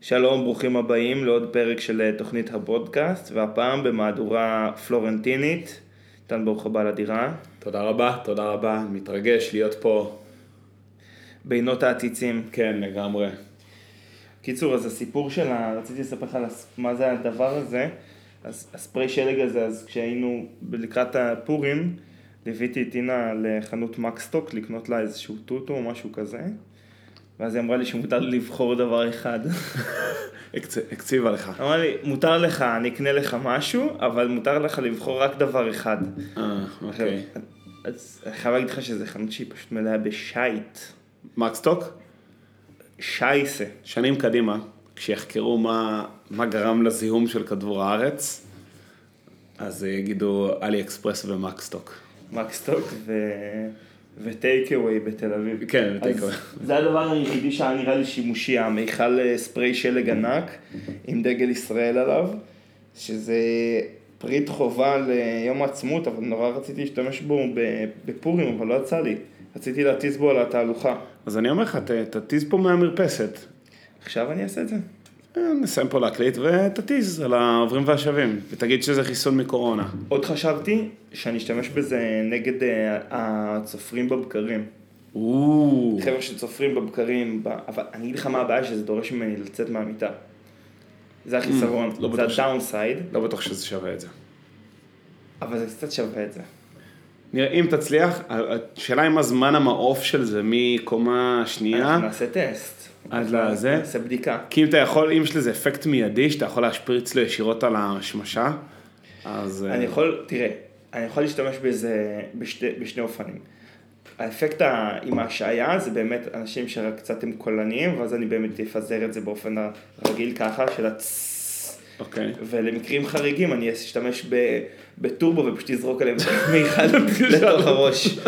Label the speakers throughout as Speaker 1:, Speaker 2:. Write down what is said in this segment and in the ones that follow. Speaker 1: שלום, ברוכים הבאים לעוד פרק של אה, תוכנית הפודקאסט, והפעם במהדורה פלורנטינית. נתן ברוך הבא לדירה.
Speaker 2: תודה רבה, תודה רבה, מתרגש להיות פה.
Speaker 1: בינות העציצים.
Speaker 2: כן, לגמרי.
Speaker 1: קיצור, אז הסיפור של ה... רציתי לספר לך על הס- מה זה הדבר הזה. אז הספרי שלג הזה, אז כשהיינו ב- לקראת הפורים, ליוויתי את טינה לחנות מקסטוק לקנות לה איזשהו טוטו או משהו כזה. ואז היא אמרה לי שמותר לי לבחור דבר אחד.
Speaker 2: הקצ- הקציבה לך.
Speaker 1: אמרה לי, מותר לך, אני אקנה לך משהו, אבל מותר לך לבחור רק דבר אחד.
Speaker 2: אה,
Speaker 1: עכשיו,
Speaker 2: אוקיי.
Speaker 1: אז אני חייב להגיד לך שזו חנות שהיא פשוט מלאה בשייט.
Speaker 2: מקסטוק,
Speaker 1: שייסה.
Speaker 2: שנים קדימה, כשיחקרו מה, מה גרם לזיהום של כדור הארץ, אז יגידו אלי אקספרס ומקסטוק.
Speaker 1: מקסטוק ו... וטייק אווי בתל אביב.
Speaker 2: כן, ותיקו.
Speaker 1: אז זה הדבר היחידי שהיה נראה לי שימושי, המיכל אה, ספרי שלג ענק עם דגל ישראל עליו, שזה פריט חובה ליום העצמאות, אבל נורא רציתי להשתמש בו ב- בפורים, אבל לא יצא לי. רציתי להטיס בו על התהלוכה.
Speaker 2: אז אני אומר לך, ת- תתיז פה מהמרפסת.
Speaker 1: עכשיו אני אעשה את זה.
Speaker 2: אה, נסיים פה להקליט ותתיז על העוברים והשבים, ותגיד שזה חיסון מקורונה.
Speaker 1: עוד חשבתי שאני אשתמש בזה נגד אה, הצופרים בבקרים.
Speaker 2: או,
Speaker 1: חבר'ה שצופרים בבקרים, ב- אבל אני אגיד לך מה הבעיה שזה דורש ממני לצאת מהמיטה. זה החיסרון,
Speaker 2: לא
Speaker 1: זה
Speaker 2: בטוח ש-
Speaker 1: הדאונסייד,
Speaker 2: לא בטוח שזה שווה את זה.
Speaker 1: אבל זה קצת שווה את זה.
Speaker 2: אה? נראה אם תצליח, השאלה אם הזמן המעוף של זה מקומה אה, שנייה,
Speaker 1: אנחנו נעשה טסט.
Speaker 2: עד
Speaker 1: אנחנו
Speaker 2: לזה?
Speaker 1: נעשה בדיקה.
Speaker 2: כי אם אתה יכול, אם יש לזה אפקט מיידי שאתה יכול להשפריץ לו ישירות על השמשה, אז אה,
Speaker 1: אני יכול, תראה, אני יכול להשתמש בזה בשתי, בשני אופנים. האפקט ה- עם ההשעיה זה באמת אנשים שרק קצת הם קולניים, ואז אני באמת אפזר את זה באופן הרגיל ככה, של הצ...
Speaker 2: אוקיי.
Speaker 1: ולמקרים חריגים אני אשתמש ב- בטורבו ופשוט אזרוק עליהם מיכל לתוך הראש.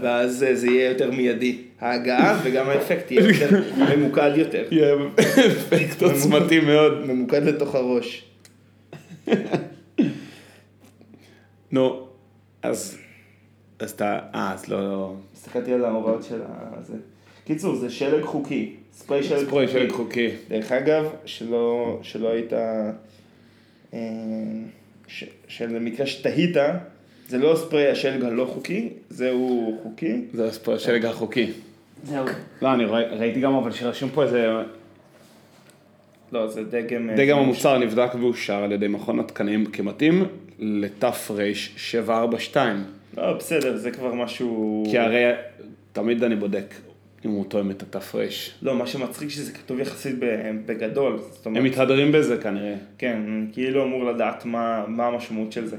Speaker 1: ואז אה, זה יהיה יותר מיידי. ההגעה וגם האפקט יהיה יותר ממוקד יותר.
Speaker 2: יהיה אפקט עוצמתי מאוד.
Speaker 1: ממוקד לתוך הראש.
Speaker 2: נו, אז, אז אתה, אה, אז לא, לא.
Speaker 1: הסתכלתי על ההוראות של ה... זה. קיצור, זה שלג חוקי. ספרי שלג
Speaker 2: ספרי
Speaker 1: חוקי.
Speaker 2: שלג חוקי.
Speaker 1: דרך אגב, שלא, שלא היית... אה, ש- שלמקרה שתהית, זה לא ספרי השלג הלא חוקי, זהו חוקי.
Speaker 2: זה ספרי השלג החוקי.
Speaker 1: זהו.
Speaker 2: כן. לא, אני רואה- ראיתי גם אבל שרשום פה איזה
Speaker 1: לא, זה דגם... אה,
Speaker 2: דגם המוצר נבדק ואושר על ידי מכון התקנים כמתאים לתר742.
Speaker 1: לא, בסדר, זה כבר משהו...
Speaker 2: כי הרי תמיד אני בודק אם הוא תואם את התפרש.
Speaker 1: לא, מה שמצחיק שזה כתוב יחסית ב- בגדול. זאת אומרת,
Speaker 2: הם מתהדרים בזה כנראה.
Speaker 1: כן, אני כאילו אמור לדעת מה, מה המשמעות של זה.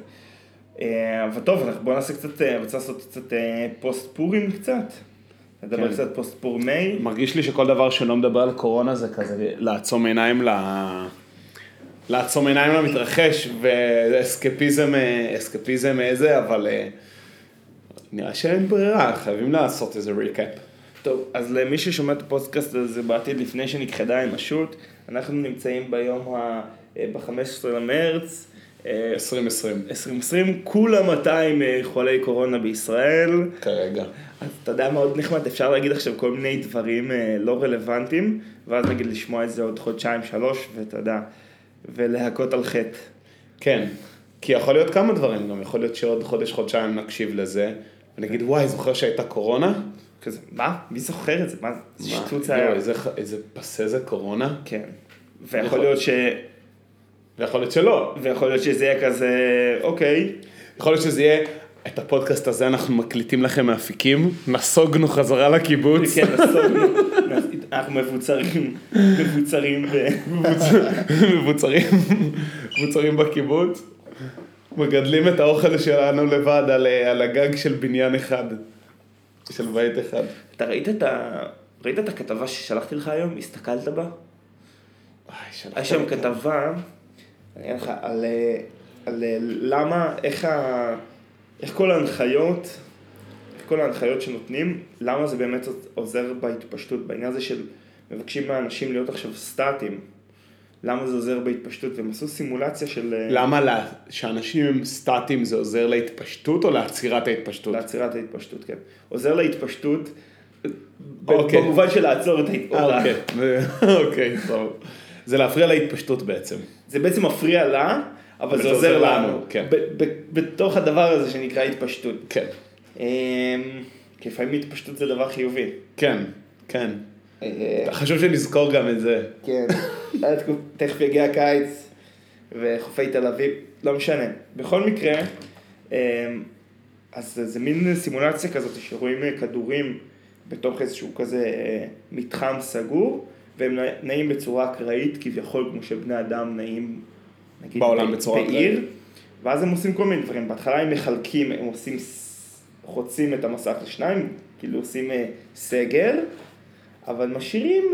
Speaker 1: אה, אבל טוב, אנחנו- בוא נעשה קצת, אה, רוצה לעשות קצת אה, פוסט פורים קצת? נדבר
Speaker 2: כן.
Speaker 1: קצת פוסט פורמי.
Speaker 2: מרגיש לי שכל דבר שלא מדבר על קורונה זה כזה לעצום עיניים ל... לעצום עיניים למתרחש, ואסקפיזם, אה, אסקפיזם איזה, אבל אה, נראה שאין ברירה, חייבים לעשות איזה ריקאפ.
Speaker 1: טוב, אז למי ששומע את הפודקאסט הזה בעתיד לפני שנכחדה האנושות, אנחנו נמצאים ביום ה... ב-15 למרץ. אה,
Speaker 2: 2020
Speaker 1: 2020, כולה 200 אה, חולי קורונה בישראל.
Speaker 2: כרגע.
Speaker 1: אז אתה יודע מה עוד נחמד, אפשר להגיד עכשיו כל מיני דברים אה, לא רלוונטיים, ואז נגיד לשמוע את זה עוד חודשיים, שלוש, ואתה יודע, ולהכות על חטא.
Speaker 2: כן, כי יכול להיות כמה דברים גם, יכול להיות שעוד חודש, חודשיים נקשיב לזה, ונגיד וואי, זוכר שהייתה קורונה?
Speaker 1: כזה, מה? מי זוכר את זה? מה? זה
Speaker 2: מה,
Speaker 1: שטות
Speaker 2: לא,
Speaker 1: היה.
Speaker 2: איזה נכון. ח- איזה פסה זה קורונה?
Speaker 1: כן. ויכול להיות ש...
Speaker 2: ויכול להיות שלא.
Speaker 1: ויכול להיות שזה יהיה כזה, אוקיי.
Speaker 2: יכול להיות שזה יהיה, את הפודקאסט הזה אנחנו מקליטים לכם מאפיקים, נסוגנו חזרה לקיבוץ.
Speaker 1: כן, נסוגנו. אנחנו מבוצרים, מבוצרים ב...
Speaker 2: מבוצרים, מבוצרים בקיבוץ. מגדלים את האוכל שלנו לבד על, אה, על הגג של בניין אחד. של בית אחד.
Speaker 1: אתה ראית את ה... ראית את הכתבה ששלחתי לך היום? הסתכלת בה?
Speaker 2: וואי,
Speaker 1: היה
Speaker 2: שלחת
Speaker 1: שם
Speaker 2: לי.
Speaker 1: כתבה, אני אגיד לך, על, אה, על אה, למה, איך, ה, איך כל ההנחיות, איך כל ההנחיות שנותנים, למה זה באמת עוזר בהתפשטות, בעניין הזה של מבקשים מהאנשים להיות עכשיו סטטיים, למה זה עוזר בהתפשטות, והם עשו סימולציה של... אה,
Speaker 2: למה לה, שאנשים הם סטטיים זה עוזר להתפשטות או לעצירת ההתפשטות?
Speaker 1: לעצירת ההתפשטות, כן. עוזר להתפשטות, ב-
Speaker 2: אוקיי.
Speaker 1: במובן של לעצור את
Speaker 2: אה,
Speaker 1: ההתפשטות.
Speaker 2: אוקיי, אוקיי, טוב. זה להפריע להתפשטות בעצם.
Speaker 1: זה בעצם מפריע לה, אבל זה עוזר לנו.
Speaker 2: כן.
Speaker 1: ב- ב- בתוך הדבר הזה שנקרא התפשטות.
Speaker 2: כן.
Speaker 1: אמ, כי לפעמים התפשטות זה דבר חיובי.
Speaker 2: כן, כן.
Speaker 1: אה,
Speaker 2: חשוב שנזכור גם את זה.
Speaker 1: כן, עד תקופ- תכף יגיע הקיץ וחופי תל אביב, לא משנה. בכל מקרה, אמ, אז זה- זה מין סימולציה כזאת שרואים אה, כדורים בתוך איזשהו כזה אה, מתחם סגור, והם נע- נעים בצורה אקראית כביכול כמו שבני אדם נעים, נגיד,
Speaker 2: בעולם
Speaker 1: ב-
Speaker 2: בצורה
Speaker 1: בעיר,
Speaker 2: אקראית.
Speaker 1: ואז הם עושים כל מיני דברים. בהתחלה הם מחלקים, הם עושים, ס- חוצים את המסך לשניים, כאילו עושים אה, סגר, אבל משאירים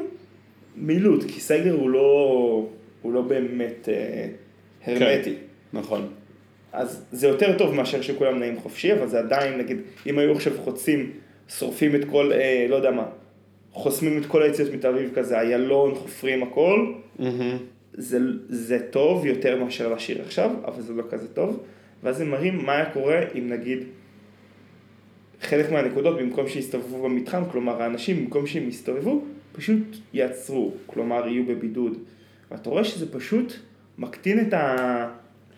Speaker 1: מילוט, כי סגר הוא לא, הוא לא באמת אה, הרמטי. כן.
Speaker 2: נכון.
Speaker 1: אז זה יותר טוב מאשר שכולם נעים חופשי, אבל זה עדיין, נגיד, אם היו עכשיו חוצים, שורפים את כל, אה, לא יודע מה, חוסמים את כל היציאות מתל אביב כזה, איילון, חופרים הכל, זה, זה טוב יותר מאשר לשיר עכשיו, אבל זה לא כזה טוב, ואז הם מראים מה היה קורה אם נגיד חלק מהנקודות במקום שיסתובבו במתחם, כלומר האנשים במקום שהם יסתובבו, פשוט יעצרו, כלומר יהיו בבידוד. ואתה רואה שזה פשוט מקטין את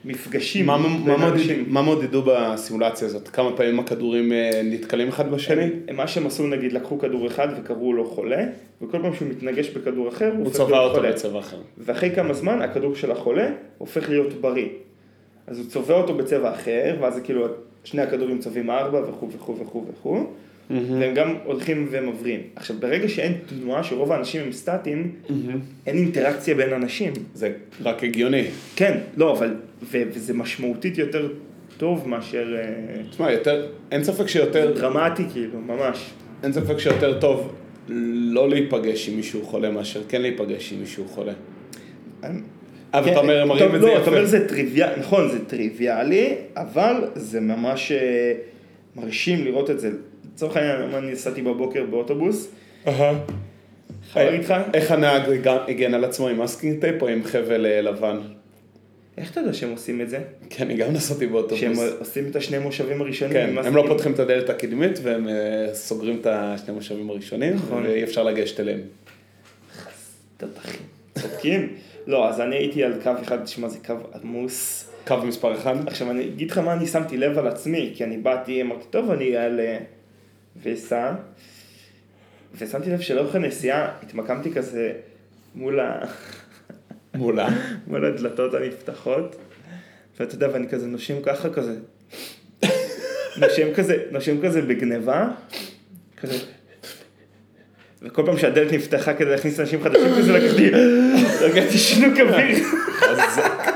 Speaker 1: המפגשים
Speaker 2: מה- מה
Speaker 1: בין
Speaker 2: מודד-
Speaker 1: האנשים.
Speaker 2: מה מודדו בסימולציה הזאת? כמה פעמים הכדורים אה, נתקלים אחד בשני?
Speaker 1: מה שהם עשו נגיד לקחו כדור אחד וקראו לו חולה, וכל פעם שהוא מתנגש בכדור אחר
Speaker 2: הוא
Speaker 1: הופך
Speaker 2: צבע
Speaker 1: להיות
Speaker 2: אותו
Speaker 1: חולה.
Speaker 2: בצבע אחר.
Speaker 1: ואחרי כמה זמן הכדור של החולה הופך להיות בריא. אז הוא צובע אותו בצבע אחר, ואז זה כאילו שני הכדורים צובעים ארבע וכו' וכו' וכו' וכו', והם גם הולכים ומבריאים. עכשיו, ברגע שאין תנועה, שרוב האנשים הם סטטיים, אין אינטראקציה בין אנשים.
Speaker 2: זה רק הגיוני.
Speaker 1: כן, לא, אבל, ו- וזה משמעותית יותר טוב מאשר... אה,
Speaker 2: תשמע, יותר, אין ספק שיותר,
Speaker 1: דרמטי כאילו, ממש.
Speaker 2: אין ספק שיותר טוב לא להיפגש עם מישהו חולה מאשר כן להיפגש עם מישהו חולה. אה,
Speaker 1: כן,
Speaker 2: ואתה אומר, הם מראים
Speaker 1: טוב,
Speaker 2: את זה
Speaker 1: לא, אתה אומר
Speaker 2: יפה.
Speaker 1: זה טריוויאלי, נכון, זה טריוויאלי, אבל זה ממש אה, מרשים לראות את זה. לצורך העניין, היום אני נסעתי בבוקר באוטובוס,
Speaker 2: אהה.
Speaker 1: חבר איתך?
Speaker 2: אה, איך הנהג הגן- הגן על עצמו עם מסקינג טייפ או עם חבל אה, לבן?
Speaker 1: איך אתה יודע שהם עושים את זה?
Speaker 2: כי אני גם נסעתי באוטובוס.
Speaker 1: שהם עושים את השני מושבים הראשונים?
Speaker 2: כן,
Speaker 1: מה זה
Speaker 2: הם לא
Speaker 1: כאילו?
Speaker 2: פותחים את הדלת הקדמית והם אה, סוגרים את השני המושבים הראשונים,
Speaker 1: נכון.
Speaker 2: ואי אפשר לגשת אליהם.
Speaker 1: תותחים. צודקים? לא, אז אני הייתי על קו אחד, תשמע, זה קו עמוס.
Speaker 2: קו מספר 1?
Speaker 1: עכשיו, אני אגיד לך מה אני שמתי לב על עצמי, כי אני באתי, אמרתי, טוב, אני על אה, וסע, ושמתי לב שלאורך הנסיעה התמקמתי כזה מול ה...
Speaker 2: מולה.
Speaker 1: מול הדלתות הנפתחות, ואתה יודע, ואני כזה נושם ככה כזה, נושם כזה, נושם כזה בגניבה, כזה, וכל פעם שהדלת נפתחה כדי להכניס אנשים חדשים כזה לקחתי, לקחתי שנוק אוויר,
Speaker 2: חזק.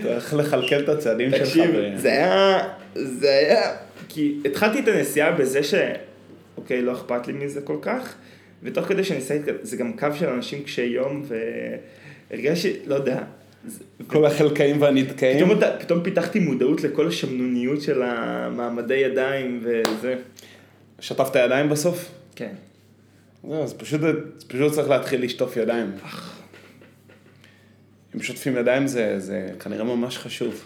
Speaker 2: אתה הולך לכלכל את הצעדים שלך.
Speaker 1: תקשיב,
Speaker 2: ב-
Speaker 1: זה היה, זה היה, כי התחלתי את הנסיעה בזה ש, אוקיי, לא אכפת לי מזה כל כך, ותוך כדי שהנסיעה, התק- זה גם קו של אנשים קשי יום, והרגשתי, לא יודע,
Speaker 2: כל החלקאים והנתקעים.
Speaker 1: פתאום, אתה, פתאום פיתחתי מודעות לכל השמנוניות של המעמדי ידיים וזה.
Speaker 2: שטפת ידיים בסוף?
Speaker 1: כן.
Speaker 2: זהו, אז פשוט פשוט צריך להתחיל לשטוף ידיים. אם שוטפים ידיים זה זה כנראה ממש חשוב.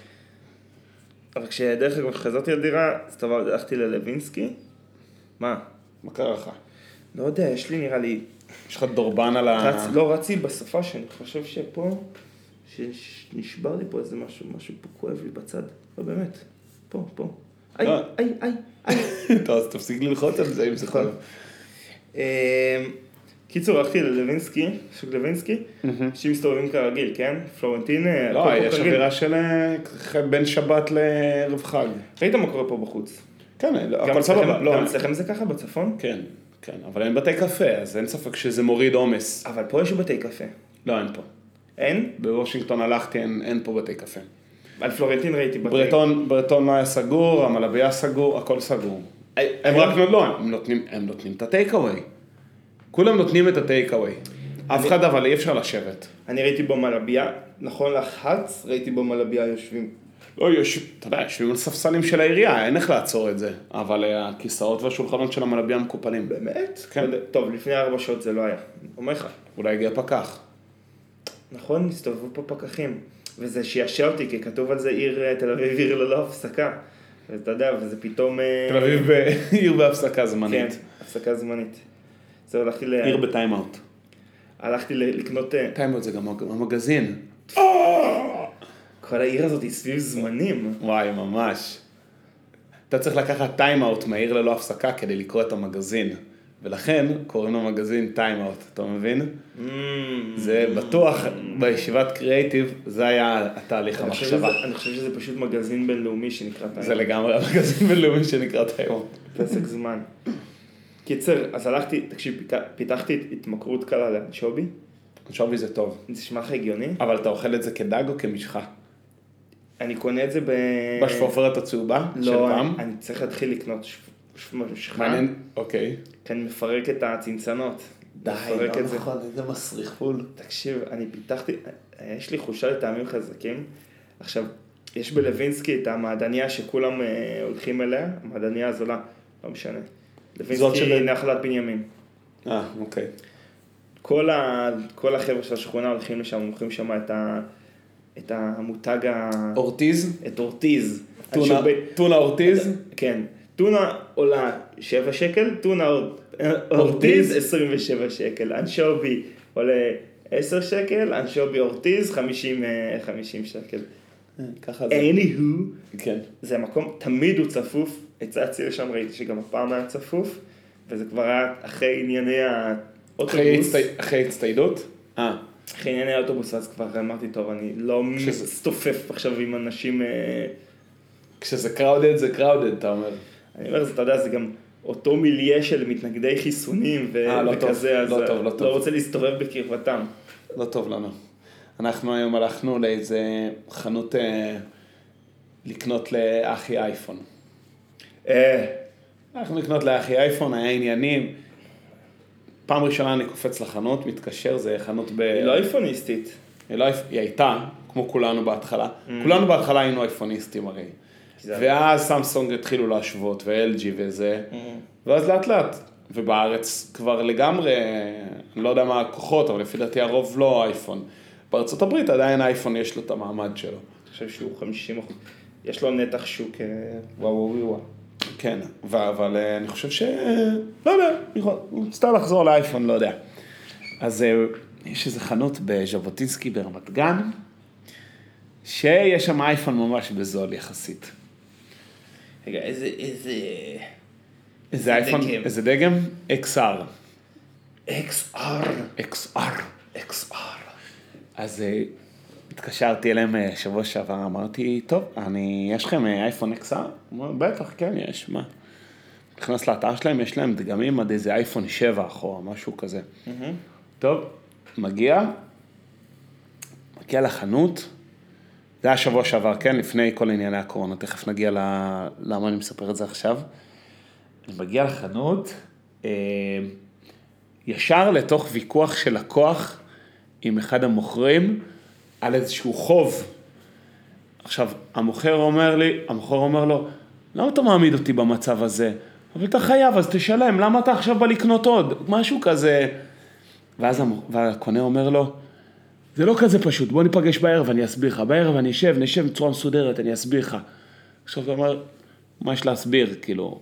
Speaker 1: אבל כשדרך אגב חזרתי לדירה, אז טוב, הלכתי ללווינסקי. מה?
Speaker 2: מה קרה לך?
Speaker 1: לא יודע, יש לי נראה לי...
Speaker 2: יש לך דורבן על ה...
Speaker 1: רצ, לא רצתי בסופה שאני חושב שפה, שנשבר לי פה איזה משהו, משהו פה כואב לי בצד. לא באמת. פה, פה. איי,
Speaker 2: אה.
Speaker 1: איי, איי, איי.
Speaker 2: טוב, אז תפסיק ללחוץ על זה אם זה
Speaker 1: נכון.
Speaker 2: טוב.
Speaker 1: אמ, קיצור, הלכתי ללווינסקי, שוק לוינסקי, אנשים מסתובבים כרגיל, כן? פלורנטין, אה, הכל
Speaker 2: לא,
Speaker 1: פה
Speaker 2: יש
Speaker 1: כרגיל.
Speaker 2: אווירה של אה, בין שבת לערב חג. כן,
Speaker 1: ראית מה קורה פה בחוץ.
Speaker 2: אה, לא,
Speaker 1: גם
Speaker 2: הכל
Speaker 1: אצלכם-
Speaker 2: סבבה. לא,
Speaker 1: גם אצלכם זה ככה בצפון?
Speaker 2: כן, כן, אבל אין בתי קפה, אז אין ספק שזה מוריד עומס.
Speaker 1: אבל פה יש בתי קפה.
Speaker 2: לא, אין פה.
Speaker 1: אין?
Speaker 2: בוושינגטון הלכתי, אין, אין פה בתי קפה.
Speaker 1: על פלורנטין ראיתי בתי.
Speaker 2: ברטון, ברטון לא היה סגור, המלבייה סגור, הכל סגור.
Speaker 1: אה,
Speaker 2: הם רק נות- לא, הם נותנים, הם נותנים את הטייק אווי. כולם נותנים את הטייק אווי. אף אחד אבל אי אפשר לשבת.
Speaker 1: אני ראיתי במלבייה, נכון לחץ, ראיתי במלבייה יושבים.
Speaker 2: לא, יש, אתה יודע, יושבים על ספסלים של העירייה, אין איך לעצור את זה. אבל אה, הכיסאות והשולחנות של המלבייה מקופלים.
Speaker 1: באמת?
Speaker 2: כן.
Speaker 1: טוב, לפני ארבע שעות זה לא היה. אומר לך.
Speaker 2: אולי הגיע פקח.
Speaker 1: נכון, הסתובבו פה פקחים. וזה שישע אותי, כי כתוב על זה עיר אה, תל אביב עיר ללא הפסקה. ואתה יודע, וזה פתאום... אה,
Speaker 2: תל אביב ב- עיר בהפסקה זמנית.
Speaker 1: כן, הפסקה זמנית. זהו, הלכתי ל...
Speaker 2: עיר בטיימאוט.
Speaker 1: הלכתי ל- לקנות... אה,
Speaker 2: טיימות זה גם המגזין.
Speaker 1: כל העיר הזאת היא סביב זמנים.
Speaker 2: וואי, ממש. אתה צריך לקחת טיימאוט מהעיר ללא הפסקה כדי לקרוא את המגזין. ולכן קוראים למגזין טיימאוט, אתה מבין? זה
Speaker 1: Mm.
Speaker 2: בטוח, בישיבת קריאייטיב, זה היה התהליך
Speaker 1: אני חושב
Speaker 2: המחשבה.
Speaker 1: שזה- אני חושב שזה פשוט מגזין בינלאומי שנקרא טיים.
Speaker 2: זה לגמרי המגזין בינלאומי שנקרא טיימאוט.
Speaker 1: פסק זמן. קיצר, אז הלכתי, תקשיב, פיתח- פיתחתי התמכרות קלה לאנשובי,
Speaker 2: שווי זה טוב.
Speaker 1: זה נשמע לך הגיוני?
Speaker 2: אבל אתה אוכל את זה כדג או כמשחה?
Speaker 1: אה. אני קונה את זה ב...
Speaker 2: בשפופרת הצהובה? של
Speaker 1: לא,
Speaker 2: פעם?
Speaker 1: אני- אני צריך להתחיל לקנות ש- ש- משחה,
Speaker 2: מעניין, אוקיי.
Speaker 1: כי אני מפרק את הצנצנות.
Speaker 2: לא
Speaker 1: מפרק את לא, זה.
Speaker 2: איזה מסריח פול.
Speaker 1: תקשיב, אני פיתחתי, יש לי חושה לטעמים חזקים. עכשיו, יש בלווינסקי את המעדניה שכולם אה, הולכים אליה, המעדניה הזולה, לא משנה.
Speaker 2: זאת
Speaker 1: לווינסקי
Speaker 2: של-
Speaker 1: נחלת בנימין.
Speaker 2: אה, אוקיי.
Speaker 1: כל, ה... כל החבר'ה של השכונה הולכים לשם, מוכרים שם את, ה... את המותג, ה...
Speaker 2: אורטיז?
Speaker 1: את אורטיז.
Speaker 2: טונה-
Speaker 1: אני שוב-
Speaker 2: טונה אורטיז?
Speaker 1: כן. טונה עולה 7 שקל, טונה אור-
Speaker 2: אורטיז?
Speaker 1: אורטיז 27 שקל, אנשובי עולה 10 שקל, אנשובי אורטיז 50, אה, 50 שקל.
Speaker 2: אה, ככה זה.
Speaker 1: Anywho,
Speaker 2: כן.
Speaker 1: זה מקום, תמיד הוא צפוף, יצאתי לשם, ראיתי שגם הפעם היה צפוף, וזה כבר היה אחרי ענייני
Speaker 2: אחרי
Speaker 1: האוטובוס.
Speaker 2: הצטי- אחרי הצטיידות? אה.
Speaker 1: אחרי ענייני האוטובוס, אז כבר אמרתי, טוב, אני לא
Speaker 2: כשזה-
Speaker 1: מסתופף עכשיו עם אנשים... אה,
Speaker 2: כשזה קראודד זה קראודד, אתה אומר.
Speaker 1: אני אומר, זה, אתה יודע, זה גם אותו מיליה של מתנגדי חיסונים ו-
Speaker 2: אה, לא טוב,
Speaker 1: וכזה, אז
Speaker 2: לא טוב, לא טוב.
Speaker 1: לא רוצה להסתובב בקרבתם.
Speaker 2: לא טוב לנו. אנחנו היום הלכנו לאיזה חנות אה, לקנות לאחי אייפון.
Speaker 1: אה,
Speaker 2: הלכנו לקנות לאחי אייפון, היה עניינים. פעם ראשונה אני קופץ לחנות, מתקשר, זה חנות ב...
Speaker 1: היא לא אייפוניסטית.
Speaker 2: היא לא אייפ- היא הייתה, כמו כולנו בהתחלה. כולנו בהתחלה היינו אייפוניסטים הרי.
Speaker 1: Mm. כי זה- Mm.
Speaker 2: ואז סמסונג התחילו להשוות, ו-LG וזה. ואז לאט לאט, ובארץ כבר לגמרי, אני לא יודע מה הכוחות, אבל לפי דעתי הרוב לא אייפון. בארצות הברית עדיין אייפון יש לו את המעמד שלו.
Speaker 1: אני חושב שהוא 50 אחוז. יש לו נתח שוק אה, וואו וואו וואו.
Speaker 2: כן, ו- אבל אה, אני חושב ש... לא יודע, יכול- סתם לחזור לאייפון, לא יודע. אז אה, יש איזו חנות בז'בוטינסקי ברמת גן, שיש שם אייפון ממש בזול יחסית.
Speaker 1: רגע, איזה, איזה...
Speaker 2: איזה אייפון,
Speaker 1: דגם.
Speaker 2: איזה דגם? XR.
Speaker 1: XR.
Speaker 2: XR, XR. אז אה, התקשרתי אליהם אה, שבוע שעבר, אמרתי, טוב, אני, יש לכם אה, אייפון XR? הוא אומר, בטח, כן, יש, מה? נכנס לאתר שלהם, יש להם דגמים עד איזה אייפון 7 אחורה, משהו כזה. טוב, מגיע, מגיע לחנות, זה היה שבוע שעבר, כן, לפני כל ענייני הקורונה, תכף נגיע ל... למה אני מספר את זה עכשיו. אני מגיע לחנות, אה, ישר לתוך ויכוח של לקוח עם אחד המוכרים על איזשהו חוב. עכשיו, המוכר אומר לי, המוכר אומר לו, למה אתה מעמיד אותי במצב הזה? אבל אתה חייב, אז תשלם, למה אתה עכשיו בא לקנות עוד? משהו כזה. ואז המוכ- והקונה אומר לו, זה לא כזה פשוט, בוא ניפגש בערב, אני אסביר לך. בערב אני אשב, נשב בצורה מסודרת, אני אסביר לך. עכשיו אתה אומר, מה יש להסביר, כאילו,